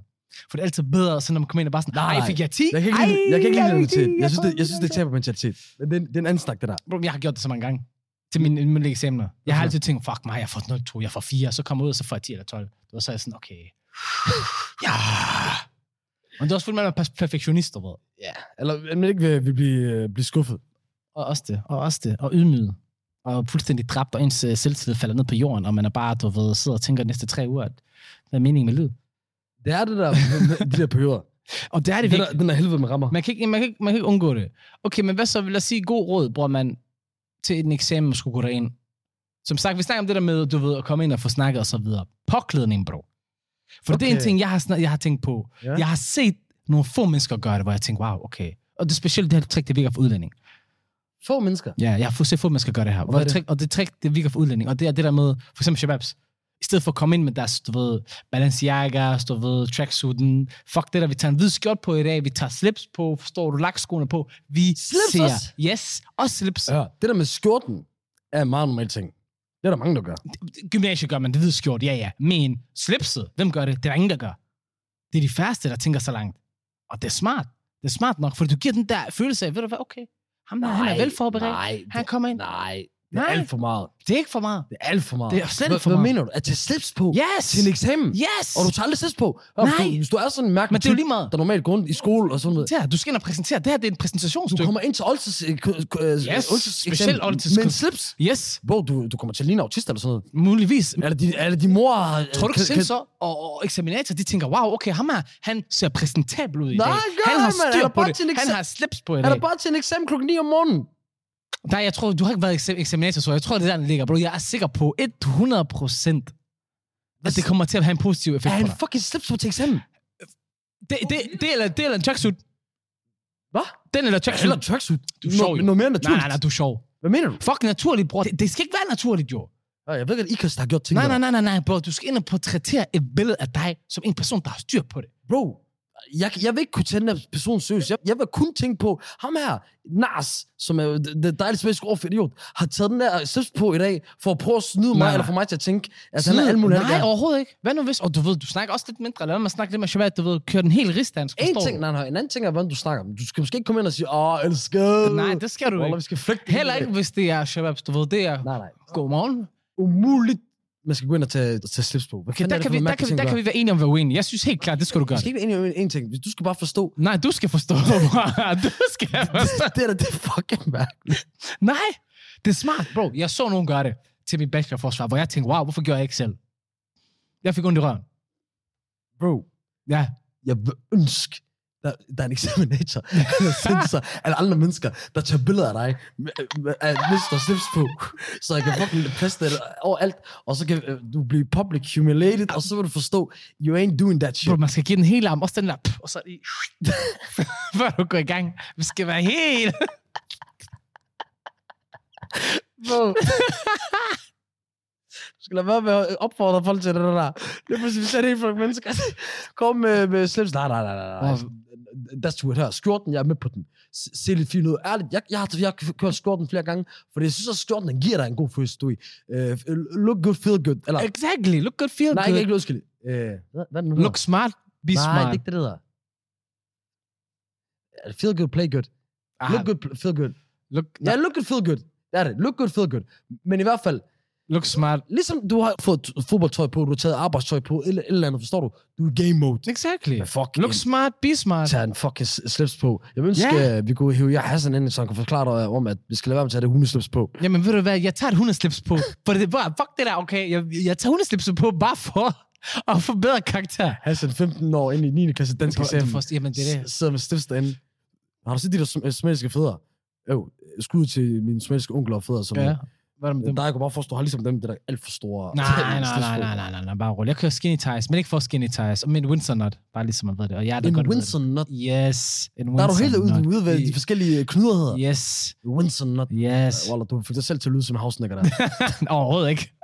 S1: For det er altid bedre, så når man kommer ind og bare sådan,
S2: Nej,
S1: nej,
S2: nej.
S1: fik jeg 10?
S2: Jeg kan ikke lide,
S1: Ej,
S2: jeg kan ikke lide
S1: fik
S2: mentalitet.
S1: 10,
S2: Jeg synes, det,
S1: får
S2: jeg synes, det
S1: en
S2: taber mentalitet. Men Det, er en- det er en anden snak, det der.
S1: Bro, jeg har gjort det så mange gange til mine mundtlige eksamener. Jeg har altid tænkt, fuck mig, jeg får 0, 2, jeg får 4, så kommer jeg ud, og så får jeg 10 eller 12. Det var så er jeg sådan, okay. Ja. Men det er også fordi, man er pers- perfektionist, du ved.
S2: Ja. Eller at man ikke vil, vil blive, øh, blive skuffet.
S1: Og også det, og også det, og ydmyget. Og fuldstændig dræbt, og ens øh, selvtillid falder ned på jorden, og man er bare, du ved, sidder og tænker de næste tre uger, at hvad er meningen med livet?
S2: Det er det der, de der perioder.
S1: Og det er det
S2: Den
S1: virkelig.
S2: der, den der helvede med rammer.
S1: Man kan, ikke, man, kan ikke, man kan ikke undgå det. Okay, men hvad så? Lad os sige god råd, bror man, til en eksamen man skulle gå derind. Som sagt, vi snakker om det der med, du ved, at komme ind og få snakket og så videre. Påklædning, bro. For okay. det er en
S2: Okay.
S1: ting, jeg har, snak, jeg har tænkt på.
S2: Ja.
S1: Ja. Jeg har set nogle få mennesker gøre det, hvor jeg tænker, wow, okay. Og det er specielt det her trick, det virker for udlænding.
S2: Få mennesker.
S1: Ja, jeg har fået set få mennesker gøre det her.
S2: hvad
S1: Hvor
S2: er
S1: det?
S2: det?
S1: Trick, og det trick, det virker for udlænding. Og det er det der med, for eksempel shababs. I stedet for at komme ind med deres, du ved, Balenciagas, du ved, tracksuiten. Fuck det der, vi tager en hvid skjort på i dag, vi tager slips på, forstår du, lakskoene på. Vi
S2: Slips
S1: ser,
S2: også?
S1: yes, og slips. Ja.
S2: Ja. Det der med skjorten er en meget normal ting. Det er der mange, der gør.
S1: Gymnasiet gør man det hvide skjort, ja ja. Men slipset, hvem gør det? Det er der ingen, der gør. Det er de færreste, der tænker så langt. Og det er smart. Det er smart nok, for du giver den der følelse af, ved du hvad, okay, ham der, han er velforberedt.
S2: Nej,
S1: Han kommer ind.
S2: nej. Det er
S1: Nej.
S2: alt for meget.
S1: Det er ikke for meget.
S2: Det er alt for meget.
S1: Det er slet
S2: Hvad-
S1: ikke for
S2: Hvad
S1: meget.
S2: mener du? At tage slips på
S1: Yes!
S2: til en eksamen?
S1: Yes!
S2: Og du tager aldrig slips på? Hør, Hvis
S1: Nej.
S2: du, hvis du er sådan en mærkelig
S1: Men det er jo
S2: type,
S1: lige meget.
S2: der normalt går rundt i skole og sådan noget.
S1: Ja, du skal ind og præsentere. Det her det er en
S2: Du
S1: præsentationsstykke.
S2: kommer ind til Olses, øh, k- k- øh,
S1: Yes,
S2: Olses eksamen
S1: specielt Olses
S2: med en
S1: kun-
S2: slips.
S1: Yes,
S2: Bro, du, du kommer til at ligne autist eller sådan noget.
S1: muligvis.
S2: Eller din, eller din mor... har-
S1: Tror du
S2: kan-
S1: ikke
S2: kan-
S1: sensor og, og eksaminator, de tænker, wow, okay, ham her, han ser præsentabel ud i
S2: Nej,
S1: dag.
S2: gør
S1: han har
S2: han, mand.
S1: styr
S2: Er der
S1: på
S2: bare
S1: det.
S2: til en
S1: Han
S2: eksam-
S1: har slips på i
S2: Er
S1: dag.
S2: der bare til en eksamen klokken 9 om morgenen?
S1: Nej, jeg tror, du har ikke været eksam- eksaminator, så jeg tror, det er der, den ligger, bro. Jeg er sikker på 100 procent, at det kommer til at have en positiv effekt
S2: Er
S1: på
S2: han
S1: dig.
S2: fucking slips på til eksamen?
S1: Det, det, det, eller, det eller en tracksuit.
S2: Hvad?
S1: Den eller
S2: Ja,
S1: tracksuit.
S2: Eller tracksuit.
S1: Du er sjov,
S2: Nå-
S1: jo.
S2: Noget mere
S1: nej,
S2: naturligt.
S1: nej, nej, du er sjov.
S2: Hvad mener du?
S1: Fuck naturligt, bror. Det, det skal ikke være naturligt, jo.
S2: Ja, Jeg ved ikke, at Ikas har gjort ting.
S1: Nej,
S2: der.
S1: nej, nej, nej, nej, bror. Du skal ind og portrættere et billede af dig som en person, der har styr på det.
S2: Bro, jeg, jeg vil ikke kunne tage den her person seriøst. Jeg, jeg vil kun tænke på ham her, Nas, som er det- det dejlige svenske ord for idiot, har taget den der slips på i dag, for at prøve at snyde mig,
S1: Nej.
S2: eller for mig til at tænke, at Altså, han er alt muligt.
S1: Nej, overhovedet ikke. Hvad nu hvis? Og du ved, du snakker også lidt mindre. Lad mig snakke lidt med Shabbat, du ved, kører den helt rigsdansk.
S2: En
S1: forstår
S2: ting,
S1: du?
S2: nej, nej, en anden ting er, hvordan du snakker. Du skal måske ikke komme ind og sige, åh, elskede.
S1: Nej, det skal du
S2: Wallah,
S1: ikke.
S2: vi skal flygte.
S1: Heller ikke, hvis det er Shabab, du ved, det er
S2: Nej, nej.
S1: godmorgen.
S2: Umuligt, man skal gå ind og tage, tage slips på. Hvad
S1: Okay, der, kan vi, der, kan vi, der kan vi være enige om at være uenige. Jeg synes helt klart, det skal du
S2: Vi
S1: gøre.
S2: skal ikke være enige om en- en ting. Du skal bare forstå.
S1: Nej, du skal forstå. bror. du skal forstå.
S2: det er da det er fucking mærkeligt.
S1: Nej, det er smart, bro. Jeg så nogen gøre det til mit bachelorforsvar, hvor jeg tænkte, wow, hvorfor gjorde jeg ikke selv? Jeg fik ondt i røven.
S2: Bro,
S1: Ja.
S2: jeg vil ønske, der, der er en examinator, eller sensor, eller andre mennesker, der tager billeder af dig, med- med- af Mr. Slips på, så jeg kan fucking plaste det overalt, og så kan øh, du blive public humiliated, og så vil du forstå, you ain't doing that
S1: Bro,
S2: shit.
S1: man skal give den hele arm, også den der, pff, og så lige, før du går i gang. Vi skal være helt...
S2: Bro. Du skal lade være med at opfordre folk til det der. Det er pludselig slet ikke folk mennesker. Kom med, med slips. Nej, nej, nej, nej. nej. That's too it her. Skjorten, jeg er med på den. Se- Se lidt fint ud. Ærligt, jeg, jeg, har, jeg har kørt skjorten flere gange, for jeg synes, at skjorten den giver dig en god følelse, du er i. Øh, look good, feel good. Eller,
S1: Exactly. Look good, feel
S2: nej,
S1: good.
S2: ikke, ikke udskille. Øh, hvad, hvad er det nu?
S1: Look smart, be
S2: nej, det er
S1: smart.
S2: ikke det, det hedder. Øh, Feel good, play good.
S1: Ah,
S2: Look good, pl- feel good.
S1: look,
S2: Ja, look good, feel good. Det er det. Look good, feel good. Men i hvert fald,
S1: look smart.
S2: ligesom du har fået t- fodboldtøj på, du har taget arbejdstøj på, eller et eller andet, forstår du? Du er i game mode.
S1: Exactly.
S2: Men fuck,
S1: Look smart, be smart.
S2: tage en fucking s- slips på. Jeg ønsker,
S1: Ja.
S2: yeah. vi kunne hive jer Hassan ind, så han kan forklare dig øh, om, at vi skal lade være med at tage det hundeslips på.
S1: Jamen ved du hvad, jeg tager et hundeslips på. For det er bare, fuck det der, okay. Jeg, jeg tager hundeslipset på bare for at forbedre karakter.
S2: Hassan, 15 år, ind i 9. klasse dansk
S1: Bro,
S2: eksamen.
S1: du forst- Jamen det er det.
S2: S- Sidder med slips derinde. Har du set de der sm- øh, somaliske fædre? Jo, skud til mine somaliske onkler og fædre, som
S1: Ja.
S2: ja.
S1: Hvad er der med dem?
S2: der jeg kunne bare forstå, har ligesom dem, det der alt for store
S1: Nej, nej,
S2: slips
S1: nej,
S2: på.
S1: nej, nej, nej, nej, bare rolig. Jeg kører skinny ties, men ikke for skinny ties. Og min Winsor Nut, bare ligesom man ved det. Og jeg er da godt
S2: En
S1: ved
S2: Winsor Nut.
S1: det. Yes, en Winsor
S2: Der er du helt ude, ude ved
S1: I-
S2: de forskellige knuderheder. Yeah.
S1: Yes,
S2: Winsor Nut.
S1: yes.
S2: Øh, Wallah, du fik dig selv til at lyde som en havsnækker der.
S1: Overhovedet ikke.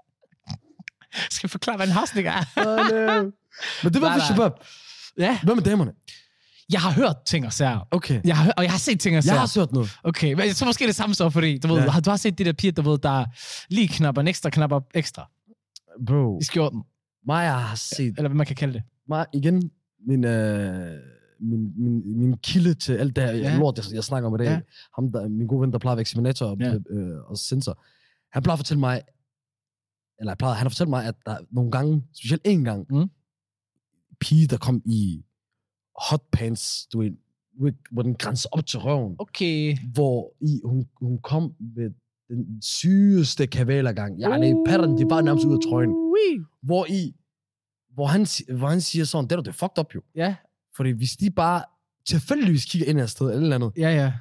S1: Jeg skal forklare, hvad en havsnik er.
S2: Oh, no. Men det var
S1: Nej,
S2: for
S1: nej.
S2: Shabab.
S1: Ja,
S2: Hvad med damerne?
S1: jeg har hørt ting og sager.
S2: Okay.
S1: Jeg har, hørt- og jeg har set ting og
S2: Jeg
S1: sager.
S2: har hørt noget.
S1: Okay, men jeg tror måske det er samme så, fordi du, ved,
S2: Ja.
S1: ja. du har set de der piger, du ved, der lige knapper en ekstra knapper ekstra
S2: Bro,
S1: i skjorten,
S2: Maja har set
S1: eller hvad man kan kalde det.
S2: mig igen min, øh, min, min, min kilde til alt det her ja.
S1: Ja.
S2: lort, jeg, jeg snakker om i dag. Ja.
S1: Ja.
S2: Ham, der, min gode ven, der plejer at være eksaminator og, ja.
S1: Ja.
S2: øh, og sensor. Han plejer at fortælle mig, eller jeg plejer, han har fortalt mig, at der er nogle gange, specielt en gang,
S1: Mm.
S2: pige, der kom i hot pants, du ved, hvor- hvor den grænser op til røven,
S1: Okay.
S2: hvor i, hun, hun kom med den sygeste kavalergang. Ja, uh. patterne, de var nærmest ud af trøjen.
S1: Ui.
S2: Hvor i, hvor han, si- hvor han siger sådan, det er da- det er fucked up jo.
S1: Ja,
S2: Fordi hvis de bare tilfældigvis kigger ind et sted eller et eller andet,
S1: ja, ja.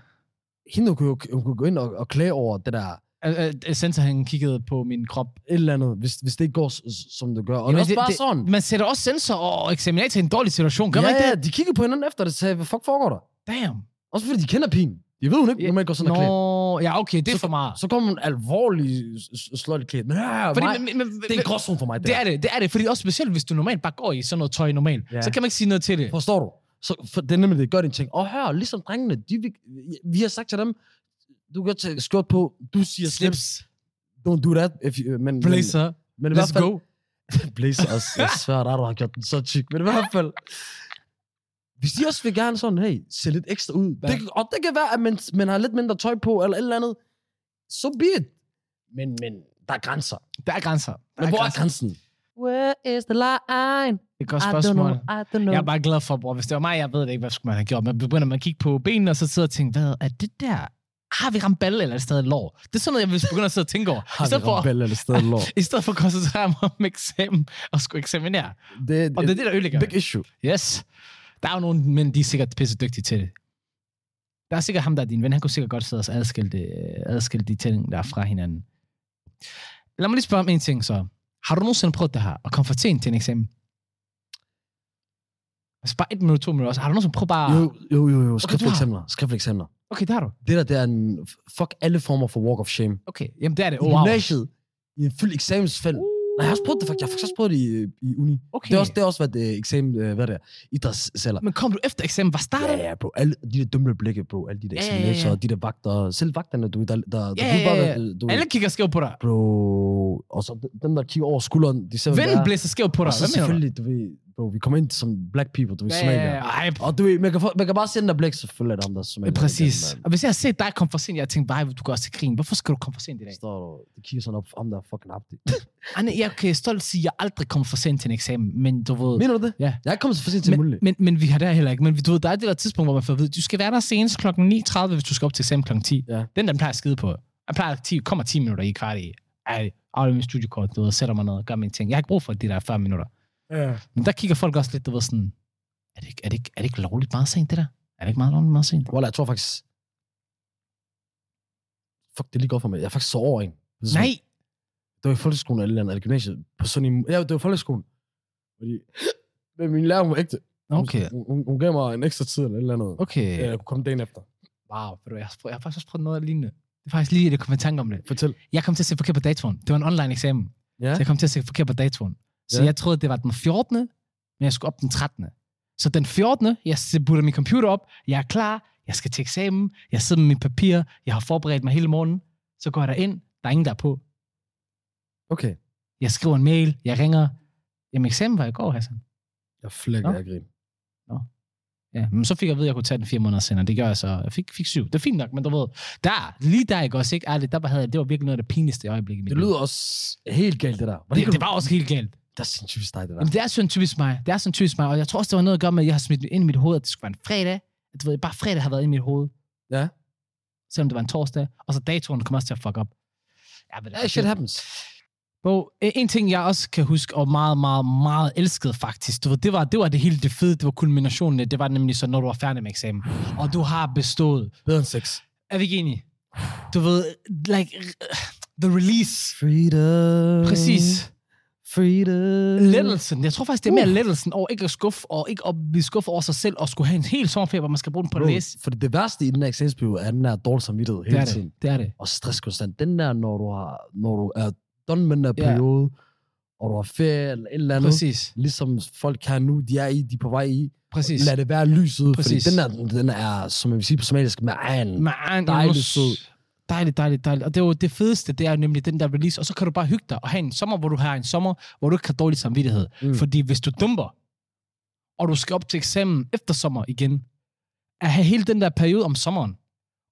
S2: hende kunne jo hun kunne gå ind og, og klage over det der
S1: Al- al- Sensor, han kiggede på min krop.
S2: et eller andet, hvis, hvis det ikke går, s- s- som det gør. Og Jamen,
S1: Jamen,
S2: det er også
S1: det-
S2: bare
S1: det-
S2: sådan.
S1: Man sætter også sensor og eksaminator i en dårlig situation, gør
S2: ja,
S1: man ikke
S2: ja,
S1: det?
S2: de kigger på hinanden efter det, og sagde, hvad fuck foregår der?
S1: Damn.
S2: Også fordi de kender pigen. De ved hun ikke,
S1: Ja,
S2: når man går sådan og
S1: Nå,
S2: klæder.
S1: ja, okay, det er for meget.
S2: Så kommer hun alvorlig s- s- sløjt klædt. Ja,
S1: Fordi,
S2: mig,
S1: men, men, men,
S2: det er en gråzone for mig, det,
S1: det
S2: der.
S1: er det, det er det, fordi også specielt, hvis du normalt bare går i sådan noget tøj normalt,
S2: Ja.
S1: ja. så kan man ikke sige noget til det.
S2: Forstår du? Så for, det er nemlig det, gør din ting. Og hør, ligesom drengene, de, vi, vi har sagt til dem, du kan godt tage skjort på, du siger slips, don't do that. If you, men,
S1: blazer,
S2: men, men i hvert
S1: let's
S2: fald,
S1: go.
S2: blazer også. Jeg svær, der har gjort den så tyk. Men i hvert fald, hvis de også vil gerne sådan, hey, se lidt ekstra ud.
S1: Ja.
S2: Det, kan- og det kan være, at man, man har lidt mindre tøj på, eller et eller andet. Så so be it. men, men der er grænser. Der
S1: Der er grænser. Der
S2: men
S1: er
S2: hvor er
S1: grænser.
S2: grænsen?
S3: Where is the line?
S1: Det er et godt
S3: I don't
S1: spørgsmål.
S3: know. I don't know.
S1: Jeg er bare glad for, bror. Hvis det var mig, jeg ved det ikke, hvad skulle man have gjort. Man begynder man at kigge på benene, og så sidder og tænker, hvad er det der? Har vi ramt balle, eller er det stadig lår? Det er sådan noget, jeg vil begynde at sidde og tænke over. I
S2: Har vi
S1: stedet for,
S2: ramt eller sted lov?
S1: i stedet for at koncentrere mig om eksamen og skulle eksaminere.
S2: Det er
S1: Og det er det, der ødelægger
S2: et
S1: det.
S2: big issue.
S1: Yes. Der er jo nogle mænd, de er sikkert pisse dygtige til det. Der er sikkert ham, der er din ven. Han kunne sikkert godt sidde og adskille, det, øh, adskille de ting, der er fra hinanden. Lad mig lige spørge om en ting så. Har du nogensinde prøvet det her, at komme for sent til en eksamen? Altså bare et minut, to minutter også. Har du nogensinde prøvet bare...
S2: Jo, jo, jo, jo.
S1: du
S2: Skriftlige
S1: har-
S2: eksempler. Skriftlige eksempler.
S1: Okay, det har du.
S2: Det der, det er en... Fuck alle former for walk of shame.
S1: Okay, jamen det er det.
S2: I
S1: Oh, wow.
S2: gymnasiet, i en fuld eksamensfæld. Nej, jeg har også prøvet det faktisk. Jeg har faktisk også prøvet det i, i uni. Okay.
S1: Okay.
S2: Det er også, det er også hvad det er eksamen, øh, hvad det er, idrætsceller.
S1: Men kom du efter eksamen? Hvad
S2: Ja,
S1: startede?
S2: ja, bro. Alle de der dumme blikke, bro. Alle de der
S1: Ja, ja, ja,
S2: eksaminatorer, ja, ja, ja. de der vagter. Selv vagterne, du ved, der, der, der
S1: Ja,
S2: ved
S1: ja,
S2: bare,
S1: ja,
S2: hvad du, du
S1: Alle kigger skævt på dig.
S2: Bro. Og så dem, der kigger over skulderen, de ser, hvad
S1: Vennen
S2: der er.
S1: blæser skævt på
S2: Og
S1: dig.
S2: så
S1: Hvad mener du?
S2: selvfølgelig, du ved, bro, vi kommer ind som black people, du ved,
S1: Ja, ja,
S2: somalier.
S1: ja. Ej,
S2: Og du ved, man kan, få, man kan bare se den der blik, selvfølgelig er det ham, der er somalier.
S1: Ja, præcis.
S2: Den,
S1: Og hvis jeg har set dig komme for sent, jeg har tænkt, nej, du går også til krigen. Hvorfor skal du komme for sent i
S2: der
S1: dag?
S2: Står du, de kigger sådan op, ham der er fucking abdi.
S1: Anne, jeg kan stolt sige, at jeg aldrig kommer for sent til en eksamen, men du ved...
S2: Mener du det?
S1: Ja.
S2: Jeg er kommet så for sent til muligt.
S1: men, men, men, vi har der heller ikke. Men vi- du ved, der er det der tidspunkt, hvor man får at vide, du skal være der senest kl. 9.30, hvis du skal op til eksamen kl. 10.
S2: Ja.
S1: Den der plejer jeg at skide på. Jeg plejer at 10, kommer 10 minutter i kvart i. Ej, afleverer min studiekort, du ved, sætter mig ned og gør mine ting. Jeg har ikke brug for de der 40 minutter.
S2: Ja.
S1: Men der kigger folk også lidt, du ved sådan, er det, ikke- er det, ikke, er det ikke lovligt meget sent, det der? Er det ikke meget lovligt meget sent?
S2: Wallah, jeg tror faktisk... Fuck, det er lige godt for mig. Jeg er faktisk så over en. Det er sådan-
S1: Nej,
S2: Det var i folkeskolen eller et eller andet, eller gymnasiet. På sådan en... Ja, det var i folkeskolen. Fordi... Men min lærer, hun var ægte. Hun-
S1: okay.
S2: Hun, hun, hun, gav mig en ekstra tid eller et eller andet.
S1: Okay.
S2: Ja, jeg kunne komme dagen efter.
S1: Wow, ved du, hvad, jeg, har, prøvet- jeg har faktisk også prøvet noget lignende. Det er faktisk lige, at jeg kom i tanke om det.
S2: Fortæl.
S1: Jeg kom til at se forkert på datoen. Det var en online eksamen.
S2: Ja.
S1: Så jeg kom til at se forkert på datoen. Så
S2: Ja.
S1: jeg troede, det var den 14., men jeg skulle op den 13. Så den 14., jeg s- putter min computer op, jeg er klar, jeg skal til eksamen, jeg sidder med mine papirer, jeg har forberedt mig hele morgenen, så går jeg derind, der er ingen, der er på.
S2: Okay.
S1: Jeg skriver en mail, jeg ringer, jamen eksamen var i går, Hassan.
S2: Jeg flækker,
S1: Nå.
S2: jeg griner.
S1: Ja, men så fik jeg at vide, at jeg kunne tage den fire måneder senere. Det gør jeg så. Jeg fik, fik syv. Det er fint nok, men du ved, der, lige der, ikke også, ikke? Ærligt, der havde jeg, det var virkelig noget af det pinligste øjeblik i mit
S2: Det
S1: liv.
S2: lyder også helt galt, det der. Hvordan
S1: det, det, var også helt galt.
S2: Der er sindssygt vist dig, det der.
S1: Jamen, det er sådan typisk mig. Det er sådan typisk mig, og jeg tror også, det var noget at gøre med, at jeg har smidt ind i mit hoved, at det skulle være en fredag. At, du ved, bare fredag har været inde i mit hoved.
S2: Ja.
S1: Selvom det var en torsdag. Og så datoen kom også til at fuck op. Ja, men,
S2: Ja, shit happens.
S1: Bro, en en ting, jeg også kan huske, og meget, meget, meget elskede faktisk, du ved, det var det, var det hele det fede, det var kulminationen, det var nemlig så, når du var færdig med eksamen, og du har bestået.
S2: Bedre end sex.
S1: Er vi ikke enige? Du ved, like, the release.
S2: Freedom.
S1: Præcis.
S2: Freedom.
S1: Lettelsen. Jeg tror faktisk, det er mere
S2: Uh.
S1: lettelsen over ikke at skuffe, og ikke at blive skuffet over sig selv, og skulle have en hel sommerferie, hvor man skal bruge den på at
S2: Bro,
S1: læse.
S2: For det værste i den her eksamensperiode er den her dårlige samvittighed
S1: Det
S2: hele
S1: er
S2: tiden.
S1: det. Det er det.
S2: Og stress konstant. Den der, når du, har, når du er done med den der
S1: Ja.
S2: periode, og du har ferie eller et eller andet.
S1: Præcis.
S2: Ligesom folk kan nu, de er i, de er på vej i.
S1: Præcis.
S2: Lad det være lyset, fordi
S1: Præcis. Mm.
S2: den der, den er, som jeg vil sige på somalisk, med egen.
S1: Man,
S2: Dejlig
S1: dejligt
S2: sød.
S1: Dejligt, dejligt, dejligt. Og det er jo det fedeste, det er jo nemlig den der release. Og så kan du bare hygge dig og have en sommer, hvor du har en sommer, hvor du ikke har dårlig samvittighed.
S2: Mm.
S1: Mm. Fordi hvis du dumper, og du skal op til eksamen efter sommer igen, at have hele den der periode om sommeren,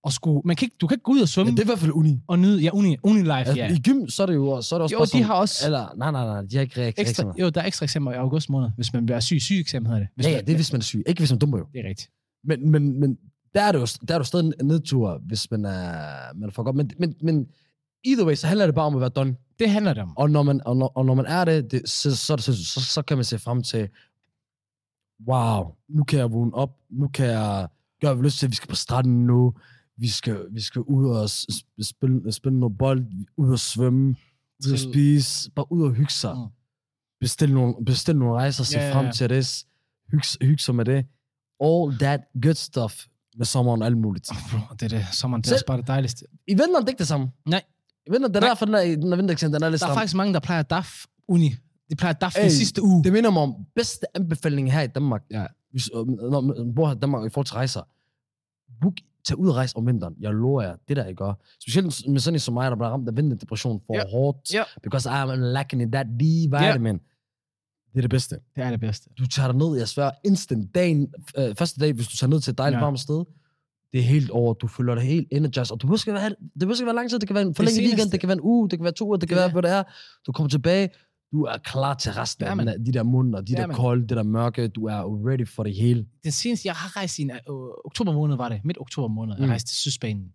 S1: og skulle, man kan ikke, du kan ikke gå ud og
S2: Ja,
S1: svømme
S2: det er i hvert fald uni.
S1: og nyde ja, uni, uni life.
S2: Altså,
S1: Ja.
S2: I gym, så er det jo, så er det også
S1: Jo,
S2: bare
S1: de
S2: sådan,
S1: har også
S2: Eller, nej, nej, nej, de har ikke rigtig
S1: ekstra, jo, der er ekstra eksamener i august måned, hvis man bliver syg. Syg eksamen hedder det. Hvis
S2: Ja, ja,
S1: man,
S2: det er, hvis man er syg. Ikke hvis man dumper jo.
S1: det er rigtigt.
S2: Men, men, men der er det jo, der er det jo stadig en nedtur, hvis man er, man er for godt. Men, men, men either way, så handler det bare om at være done.
S1: Det handler det om.
S2: Og når man, og når, og når man er det, det så, så, er det sindssygt. så, så kan man se frem til, wow, nu kan jeg vågne op, nu kan jeg gøre, hvad jeg har lyst til, vi skal på stranden nu, vi skal, vi skal ud og s- s- spille, spille noget bold, ud og svømme, ud og
S1: Til-
S2: spise, bare ud og hygge sig.
S1: Mm.
S2: Bestil nogle, bestil nogle rejser, se
S1: Ja, ja,
S2: frem
S1: ja.
S2: til det, hygge, hygge sig med det. All that good stuff med sommeren og alt muligt.
S1: Bro, det er det. Sommeren, det er
S2: Selv-
S1: også bare det dejligste.
S2: I vinteren det er ikke det samme.
S1: Nej.
S2: I vinteren, det er
S1: Nej.
S2: derfor, den er, den er vintereksamen, den er lidt
S1: Der er
S2: stram.
S1: faktisk mange, der plejer DAF uni. De plejer DAF
S2: Ey,
S1: den sidste uge.
S2: Det minder mig om bedste anbefaling her i Danmark.
S1: Ja.
S2: Hvis, øh, når man bor her i Danmark i forhold til rejser. Book, tag ud og rejse om vinteren. Jeg lover jer, det der, I gør. Specielt med sådan en som mig, der bliver ramt af vinterdepression for
S1: Ja.
S2: hårdt.
S1: Ja.
S2: Because I'm lacking in that D-vitamin. Det er det bedste.
S1: Det er det bedste.
S2: Du tager dig ned, jeg svær, instant dagen, øh, første dag, hvis du tager ned til et dejligt
S1: Ja.
S2: varmt sted. det er helt over, du føler dig helt energized, og du husker, hvad, det behøver ikke være lang tid, det kan være en forlænget weekend,
S1: seneste-
S2: det kan være en uge, det kan være to uger, det kan
S1: Ja.
S2: være, hvad det er. Du kommer tilbage, du er klar til resten
S1: Ja,
S2: af
S1: mand.
S2: den, her- de der munder, de
S1: Ja,
S2: der
S1: mand.
S2: kolde, det der mørke, du er ready for det hele.
S1: Den seneste, jeg har rejst i en, øh, oktober måned, var det. Midt oktober måned, jeg
S2: Mm.
S1: rejste til Sydspanien.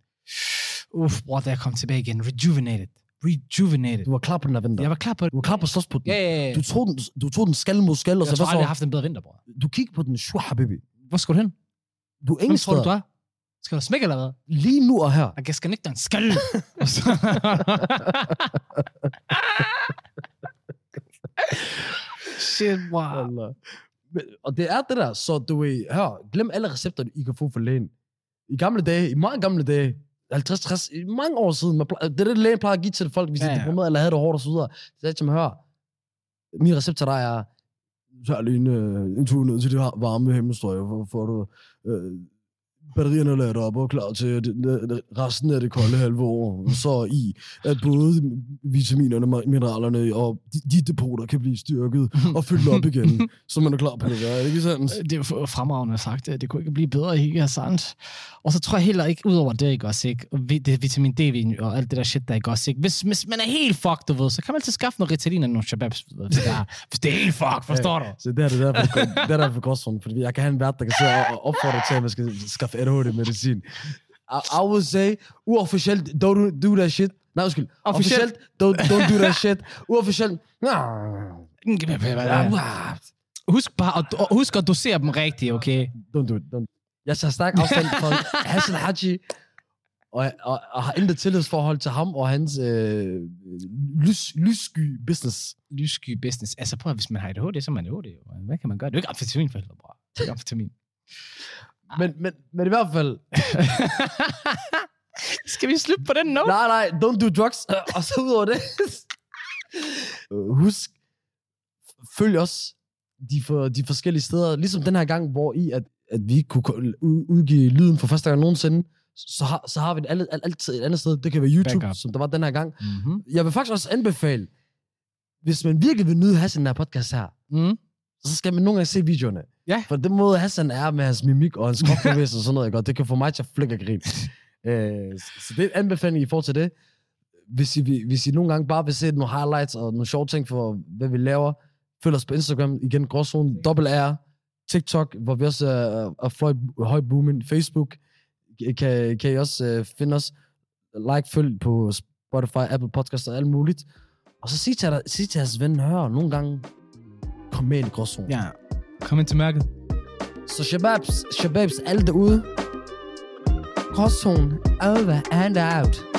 S1: Uff, bror, da jeg kom tilbage igen. Rejuvenated. Rejuvenated.
S2: Du var klar på den her vinter.
S1: Jeg var klar på det.
S2: Du var klar på at slås på den.
S1: Ja, ja, ja.
S2: Du tog den, du tog den skal mod skal, og så
S1: jeg tror
S2: hvad
S1: aldrig, jeg
S2: så?
S1: har haft en bedre vinter, bror.
S2: Du kigger på den, shu habibi.
S1: Hvor skal du hen?
S2: Du er
S1: Hvem
S2: ingen
S1: tror du,
S2: steder.
S1: du er? Skal du smække eller hvad?
S2: Lige nu og her.
S1: Og Jeg skal ikke dig en skal. Og så- Shit, wow.
S2: Allah. Men- Og det er det der, så du ved, hør, glem alle recepter, I kan få for lægen. I gamle dage, i mange gamle dage, 50, 60, i mange år siden, man plejer, det er det, lægen plejer at give til folk, hvis
S1: Ja,
S2: ja, ja. de
S1: ja.
S2: er deprimeret eller havde det hårdt og så videre. Så sagde jeg til dem, hør, min recept til dig er, tag lige en, øh, en tur ned til det her varme himmelstrøg, hvor får du øh, batterierne ladt op og klar til det, det, det, resten af det kolde halve år. Så i, at både vitaminerne og mineralerne og de, de depoter kan blive styrket og fyldt op igen, så man er klar på det. Er det ikke sandt?
S1: Det er jo fremragende sagt. Det kunne ikke blive bedre, ikke sandt? Og så tror jeg heller ikke, udover det, ikke også, ikke? Og vi- Det er vitamin D og alt det der shit, der ikke også, ikke? Hvis, hvis man er helt fucked, du ved, så kan man altid skaffe noget Ritalin eller nogle shababs. du ved, Hvis det er, hvis det er helt fucked, forstår du?
S2: Så det er det derfor, det er derfor kostform, fordi jeg kan have en vært, der kan sidde og- og opfordre til, at man skal skaffe ADHD-medicin. I, I would say, uofficielt, don't do that shit. Nej, undskyld. Officielt,
S1: Officielt.
S2: don't, don't do that shit. Uofficielt, nah.
S1: Mm,
S2: ah,
S1: Husk bare at, og husk at dosere dem rigtigt, okay?
S2: don't do it. Don't. Jeg tager stærk afstand fra Hassan Haji, og, og, og, har intet tillidsforhold til ham og hans øh, lys, lyssky business.
S1: lyssky business. Altså prøv at, hvis man har ADHD, så er man ADHD. jo. Hvad kan man gøre? Det er jo ikke amfetamin for helvede, bror. Det er ikke amfetamin.
S2: Men, men, men i hvert fald,
S1: Skal vi slutte på den note?
S2: Nej, nej, don't do drugs. Øh, Og så ud over det. Øh, Husk, følg os de, for, de forskellige steder. Ligesom den her gang, hvor i, at, at vi ikke kunne ko- u- udgive lyden for første gang nogensinde, så har, så har vi det alle, al- altid et andet sted. Det kan være YouTube,
S1: Backup.
S2: som der var den her gang.
S1: Mm-hmm.
S2: Jeg vil faktisk også anbefale, hvis man virkelig vil nyde Hassan her podcast her,
S1: Mm.
S2: så skal man nogle gange se videoerne.
S1: Ja.
S2: For den måde, Hassan er med hans mimik og hans kropbevægelse og sådan noget, ikke? og det kan få mig til at flække og grine. øh, så det er en anbefaling i forhold til det. Hvis I, vil- hvis I nogle gange bare vil se nogle highlights og nogle sjove ting for, hvad vi laver, følg os på Instagram, igen Gråzone, dobbelt R, TikTok, hvor vi også er, er fløj, høj booming, Facebook, kan, kan I også øh, finde os, like, følg på Spotify, Apple Podcasts og alt muligt. Og så sig til, sig til jeres ven, hør, nogle gange, kom med i en Gråzone.
S1: Ja. Kom ind til mørket.
S2: Så shababs, shababs, alle derude. Gråzonen over and out.